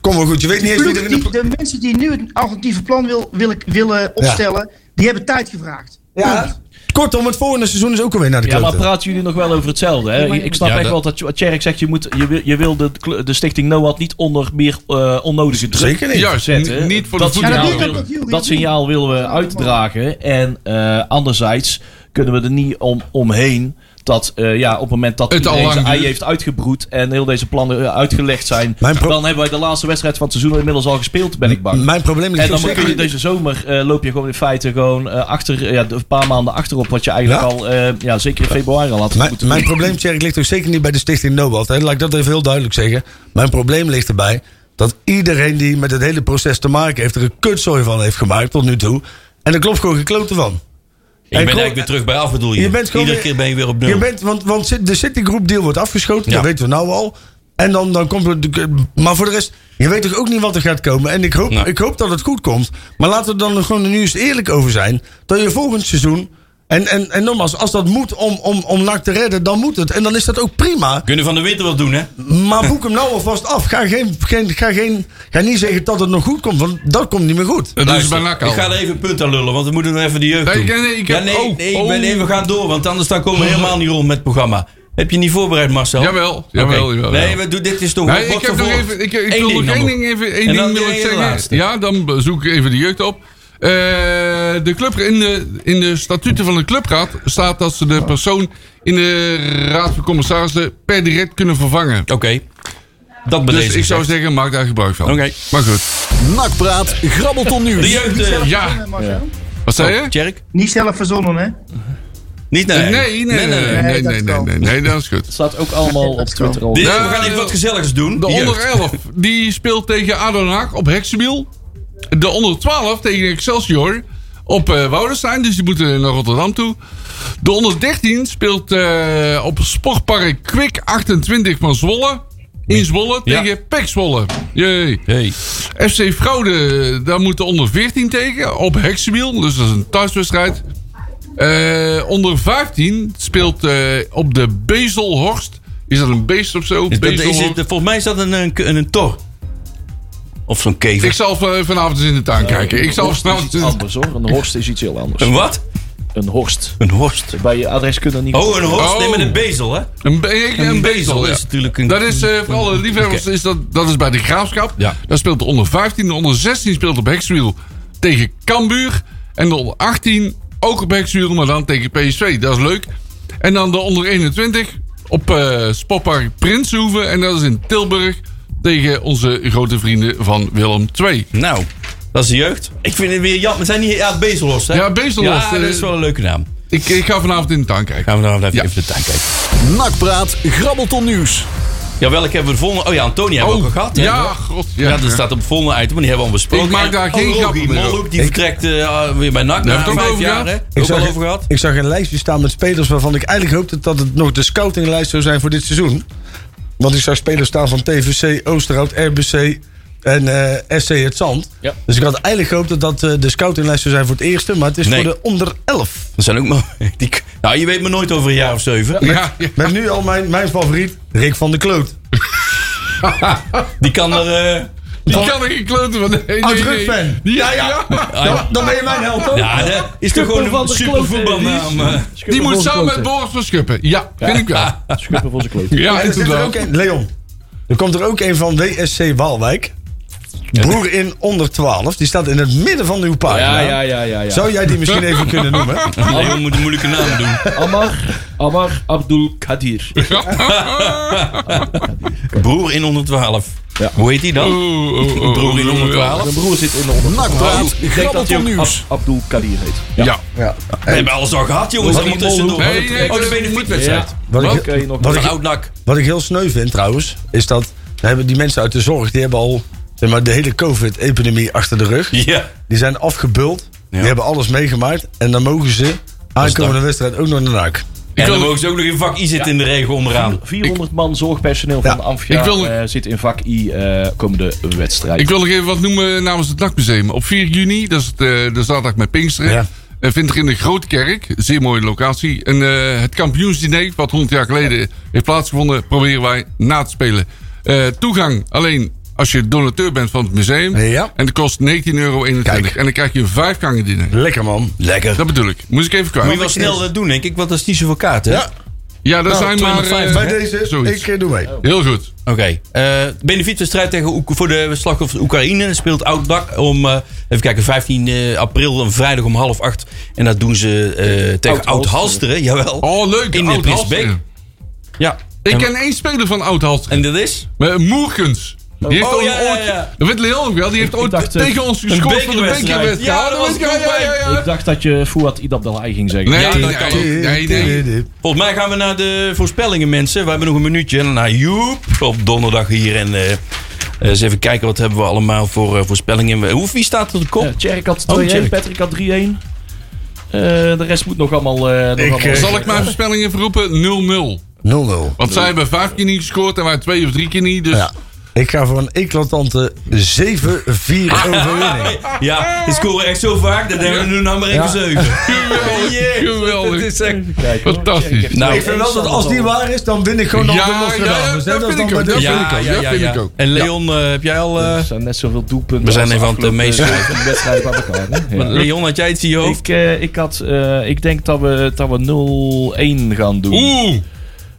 D: Kom maar goed. Je weet niet eens wie er
A: Ploeg
D: in
A: die-
D: de.
A: de mensen die nu het alternatieve plan wil, wil, willen opstellen, die hebben tijd gevraagd.
D: Ja. Kortom, het volgende seizoen is ook alweer naar de
F: Ja,
D: kloten.
F: maar praten jullie nog wel over hetzelfde? Hè? Ik snap
C: Ja,
F: echt
C: dat-
F: wel dat wat Tjerk zegt, je, moet, je, wil, je wil de, kle- de stichting NOAD niet onder meer eh, onnodige druk
D: Zeker niet.
E: Juist,
F: zetten.
E: n- niet voor de
F: dat
E: voetbal.
A: Ja, dat doet
F: signaal,
A: ook
F: willen,
A: dat Jury,
F: dat
A: dat
F: signaal willen we uitdragen. En eh, anderzijds kunnen we er niet om, omheen dat eh, ja, op het moment dat
E: Het al
F: iedereen zijn
E: lang
F: ei
E: duurt.
F: heeft uitgebroed en heel deze plannen eh, uitgelegd zijn,
D: Mijn pro-
F: dan hebben wij de laatste wedstrijd van het seizoen inmiddels al gespeeld, ben ik bang.
D: Mijn probleem ligt
F: En dan
D: zo
F: kun je deze zomer eh, loop je gewoon in feite gewoon eh, achter, eh, ja, een paar maanden achterop wat je eigenlijk
D: Ja.
F: al, eh, ja, zeker in februari al had
D: Mijn,
F: moeten
D: mijn
F: doen.
D: probleem, Tjerk, ligt ook zeker niet bij de stichting Nobald. Hè. Laat ik dat even heel duidelijk zeggen. Mijn probleem ligt erbij dat iedereen die met het hele proces te maken heeft... er een kutzooi van heeft gemaakt tot nu toe. En er klopt gewoon geen klote van.
C: Ik ben
D: klopt-
C: eigenlijk weer terug bij af, bedoel je?
D: Je bent gewoon
C: Iedere
D: weer-
C: keer ben je weer op nul.
D: Je bent, want, want Cit- de Citigroup deal wordt afgeschoten,
C: Ja.
D: dat weten we nou al. En dan, dan komt er. de- Maar voor de rest, je weet toch ook niet wat er gaat komen. En ik hoop,
C: Nee.
D: ik hoop dat het goed komt. Maar laten we dan gewoon nu eens eerlijk over zijn. Dat je volgend seizoen. En, en, en nogmaals, als dat moet om, om, om NAC te redden, dan moet het. En dan is dat ook prima.
C: Kunnen van de winter wat doen, hè?
D: Maar boek hem nou alvast af. Ga, geen, geen, ga, geen, ga niet zeggen dat het nog goed komt, want dat komt niet meer goed.
E: Dat doen ze bij
C: Luister,
E: NAC
C: ik
E: al.
C: ga er even een punt aan lullen, want we moeten nog even de jeugd
E: Nee,
C: doen.
E: nee, nee, ik
C: ja,
E: heb-
C: nee,
E: oh,
C: nee, ik
E: oh.
C: ben, nee, we gaan door, want anders dan komen we helemaal niet rond met het programma. Heb je niet voorbereid, Marcel?
E: Jawel,
C: Oké.
E: jawel, jawel.
C: Nee, we doen, dit is toch
E: Nee,
C: wat
E: ik heb nog
C: ervoor.
E: even, ik, ik
C: Eén
E: wil nog één
C: nog.
E: ding, even,
C: En
E: één
C: dan
E: ding wil
C: de
E: ik
C: ene
E: zeggen.
C: laatste.
E: Ja, dan zoek ik even de jeugd op. Eh, de club, in, de, in de statuten van de clubraad staat dat ze de persoon in de raad van commissarissen per direct kunnen vervangen.
C: Oké, dat bij
E: Dus
C: deze
E: ik zou
C: gezegd.
E: zeggen, maak daar gebruik van.
C: Oké.
E: Maar goed.
B: Nakpraat, grabbelton
C: De
B: nieuws.
C: jeugd, eh,
E: Ja,
A: Marcel.
E: wat zei je?
C: Tjerk?
A: Niet zelf verzonnen, hè?
C: Niet
E: Nee,
C: naar
E: nee, nee, nee, nee, nee,
A: dat
E: nee,
A: wel.
E: nee, nee, dat is goed.
F: Het staat ook allemaal op Twitter al.
C: Dit,
E: Ja,
C: we gaan even
E: joh.
C: wat gezelligs doen.
E: De
C: De
E: onder
C: jeugd.
E: 11 die speelt tegen Adon Haag op Heksenbiel. De onder 12 tegen Excelsior op eh Woudenstein, dus die moeten naar Rotterdam toe. De onder 13 speelt eh, op Sportpark Kwik 28 van Zwolle. In Zwolle
C: Ja.
E: tegen Pek Zwolle. Jee.
C: Hey.
E: FC Fraude, daar moet de onder 14 tegen op Heksenwiel. Dus dat is een thuiswedstrijd. Eh, onder 15 speelt eh, op de Bezelhorst. Is dat een beest of zo?
C: Is dat- is
E: Bezelhorst.
C: het- volgens mij is dat een, een, een, een tor. Of zo'n kever.
E: Ik zal v- vanavond eens in de tuin kijken. Ik zal vanavond
F: iets
E: eens-
F: anders hoor. Een horst is iets heel anders.
C: Een wat?
F: Een horst.
C: Een horst.
F: Bij je adreskunde niet.
C: Oh, een horst.
E: Oh.
C: Nee, met een bezel, hè?
E: Een, be- een, bezel,
C: Een bezel
E: ja.
C: is natuurlijk een-
E: Dat is eh, voor alle liefhebbers, is dat, dat is bij de Graafschap.
C: Ja.
E: Daar speelt de onder 15, de onder 16 speelt op Hexwiel tegen Cambuur. En de onder 18 ook op Heksuren, maar dan tegen PSV. Dat is leuk. En dan de onder 21 op eh Sportpark Prinshoeven. En dat is in Tilburg tegen onze grote vrienden van Willem II.
C: Nou, dat is de jeugd. Ik vind het weer jammer. We zijn niet... Ja, Bezelhorst, hè?
E: Ja, Bezelhorst,
C: Ja, dat is
E: eh,
C: wel een leuke naam.
E: Ik, ik ga vanavond in de tuin kijken.
C: Gaan we dan even
E: Ja.
C: even de tuin kijken.
B: Nakpraat Grabbelton Nieuws.
C: Ja, welke hebben we de volgende? Oh ja, Antonia hebben we ook al gehad. hè?
E: Ja, god. Ja,
C: Ja, dus dat staat op het volgende item, maar die hebben we al besproken.
E: Ik maak daar
C: En-
E: geen
C: oh, Rogier
E: grappen meer
C: Molhoek, die vertrekt eh, weer bij NAC
E: Daar
C: na
E: hebben we het ook
C: vijf
E: over
C: jaar.
E: gehad.
C: hè?
D: Ik
C: Ook
D: zag,
C: al over gehad.
D: ik zag een lijstje staan met spelers waarvan ik eigenlijk hoopte dat het nog de scoutinglijst zou zijn voor dit seizoen. Want ik zag spelers staan van TVC, Oosterhout, RBC en eh, SC Het Zand.
C: Ja.
D: Dus ik had eigenlijk gehoopt dat dat eh, de scoutinglijst zou zijn voor het eerste. Maar het is
C: Nee.
D: voor de onder 11.
C: Dat zijn ook maar... *laughs* Die, nou, je weet me nooit over een jaar of zeven.
E: ja, ja.
D: Met nu al mijn, mijn favoriet, Rick van der Kloot.
C: Die kan er... eh,
E: Die kan ik kloten van. Nee, nee,
D: Oud
E: nee.
D: rugfan.
E: Ja, ja.
C: ah,
D: Dan ben je mijn held, hoor.
C: ja, dat is toch gewoon een supervoetbalnaam. eh.
E: Die moet samen met Boris van Schuppen. Ja, vind ik wel.
F: Schuppen voor zijn kloot.
E: Ja,
D: En er zit er ook
E: inderdaad.
D: een, Leon, er komt er ook een van WSC Waalwijk. Broer in onder 12. Die staat in het midden van uw pagina.
F: Ja, ja, ja, ja. ja.
D: Zou jij die misschien even kunnen
C: *laughs*
D: noemen?
C: Nee, we moeten moeilijke naam doen.
F: Amar, Amar Abdul Kadir.
C: Broer in 112.
F: Ja.
C: Hoe heet die dan?
E: Oh, oh, oh, oh.
C: Broer in 112.
F: Zijn broer zit in de onder.
B: Nakpraat
F: Ik denk dat hij
B: Grabbelton
F: ook Ab-
B: Nieuws.
F: Abdul Kadir heet.
E: Ja.
C: We hebben alles al gehad, jongens.
F: Wat
C: Dat moet
F: die
C: tussendoor.
E: Molhoek- Nee, nee,
C: Oh, de
E: nee.
C: benefietwedstrijd.
D: Wat ik,
F: Oké, nog
D: wat
C: Dat is
D: ik,
C: een oud NAC.
D: wat ik heel sneu vind trouwens, is dat hebben die mensen uit de zorg, die hebben al zeg maar, de hele COVID-epidemie achter de rug.
C: Ja.
D: Die zijn afgebuld, die
C: Ja.
D: hebben alles meegemaakt. En dan mogen ze aankomende
C: dak.
D: wedstrijd ook nog naar NAC.
C: En
E: wil-
C: dan mogen ze ook nog in vak I zitten in de regen onderaan.
F: 400 man zorgpersoneel van
D: Ja.
F: de Amphia
E: Ik wil-
F: eh, zit in vak I eh, komende wedstrijd.
E: Ik wil nog even wat noemen namens het NAC-museum. Op 4 juni, dat is het, eh, de zaterdag met Pinksteren...
D: Ja.
E: eh, vindt er in de Grootkerk, zeer mooie locatie... En, eh, het kampioensdiner, wat 100 jaar geleden heeft plaatsgevonden... proberen wij na te spelen. Eh, toegang alleen als je donateur bent van het museum.
D: Ja.
E: En dat kost 19,21 euro. En dan krijg je een vijfgangen diner.
D: Lekker man. Lekker.
E: Dat bedoel ik. Moest ik even
C: Moet je
E: kwijt.
C: wel snel eh, doen, denk ik, want dat is niet zoveel kaarten. hè?
D: Ja,
E: Ja,
C: Nou,
E: dat zijn maar... eh,
C: 250,
D: bij deze,
E: zoiets.
D: ik eh, doe mee.
E: Heel goed.
C: Oké. Eh benefietwedstrijd tegen Oek- voor de slachtoffers Oekraïne. Dat speelt Oud-Dak om, eh, even kijken, 15 eh, april, een vrijdag om half acht. En dat doen ze eh, tegen Oud-Halsteren, jawel.
E: Oh, leuk.
C: In de
E: Oud
C: Brisbane.
E: Halsteren.
C: Ja.
E: Ik
C: En-
E: ken één speler van Oud Halsteren.
C: En dat is?
E: Maar eh, Moerkens. Die heeft
C: Oh,
E: ooit,
C: ja, ja,
E: ooit-
C: ja.
E: Dat weet Leon ook wel. Die heeft ooit
F: dacht, eh,
E: tegen ons gescoord van de
C: bekerwedstrijd.
E: bekerwedstrijd.
C: Ja, dat was
E: weet ik
C: ik
E: wel,
C: ook
E: ja, ja, ja.
F: Ik dacht dat je Fouad Idabdalai ging zeggen.
E: Nee,
C: Ja,
E: nee,
C: dat kan ook.
E: nee, nee.
C: Volgens mij gaan we naar de voorspellingen, mensen. We hebben nog een minuutje. En dan naar Joep op donderdag hier. En eh, eens even kijken wat hebben we allemaal voor eh, voorspellingen. Hoe, wie staat er de kop?
F: Ja, Tjerk had 2-1,
C: Oh, Tjerk.
F: Patrick had 3-1. Eh, de rest moet nog allemaal... eh, nog
D: Ik,
F: allemaal-
D: eh,
E: Zal ik mijn voorspelling even roepen? 0-0.
D: 0-0.
E: Want zij hebben vijf keer niet gescoord en wij twee of drie keer niet. Dus
D: Ja. Ik ga voor een eclatante 7-4
E: *laughs*
D: overwinning.
C: Ja, die scoren echt zo vaak. Dat hebben we nu nou maar even
D: Ja.
C: zeven.
E: geweldig.
C: *laughs* Jezus,
E: geweldig.
C: dat is echt-
F: Even kijken, hoor.
E: Fantastisch.
F: Tjerk heeft
C: Nou,
D: Ik vind wel dat als die waar is, dan win ik gewoon
E: Ja,
D: al de Nostradamus.
E: ja,
D: hè.
E: dat
D: is
E: vind ik
D: dan-
E: ook.
D: dat
E: Ja.
D: vind ik ook.
E: dat vind ik ook.
C: En Leon, eh, heb jij al... eh,
F: Er zijn net zoveel doelpunten.
C: We zijn
F: als
C: even aan het, eh,
F: afgelopen,
C: meeschrijven.
F: eh, wedstrijd bij elkaar. hè? Ja.
C: Leon, had jij iets in je hoofd?
F: Ik, eh, ik, had, eh, ik denk dat we, dat we 0-1 gaan doen.
E: Oeh.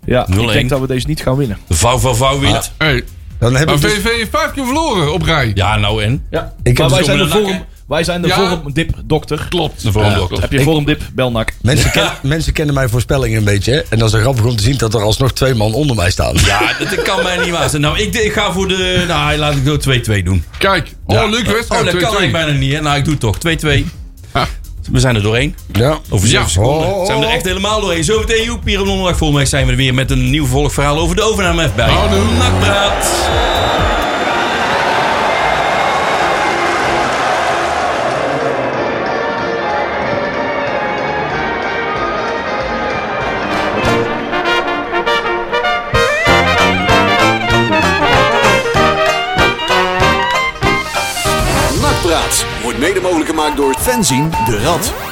F: Ja, ik
C: 0-1.
F: denk dat we deze niet gaan winnen.
C: Vouw, vouw, vouw wint.
E: Hey,
D: Dan heb
E: maar
D: ik dus-
E: VV heeft vijf keer verloren op rij.
C: Ja, nou en?
F: Ja.
D: heb
F: maar wij
D: dus
F: zijn,
C: ook
F: de
C: met een
F: vorm,
C: nak,
F: wij zijn de
E: Ja.
F: vormdip-dokter.
E: Klopt.
C: De volgende ook.
F: Heb je vormdip, Belnak.
D: mensen, ken- mensen kennen mijn voorspellingen een beetje. hè. En dat is een grappig om te zien dat er alsnog twee man onder mij staan.
C: Ja, dat dat kan mij niet waar zijn. Nou, ik, ik ga voor de... Nou, laat ik door 2-2 doen.
E: Kijk. Oh,
C: Ja.
E: leuke wedstrijd.
C: Oh, dat kan
E: 2-2.
C: ik bijna niet. Hè? Nou, ik doe het toch. 2-2.
E: Ah.
C: We zijn er doorheen.
D: Ja.
C: Over zeven
E: Ja.
C: seconden
D: Oh, oh, oh.
C: zijn we er echt helemaal doorheen. Zometeen Joep hier op donderdag. Volgende week zijn we er weer met een nieuw volgverhaal over de overname bij.
D: Nou,
E: Houdoe.
C: Nakpraat.
B: Nakpraat wordt mede mogelijk gemaakt door Fenzin de Rad.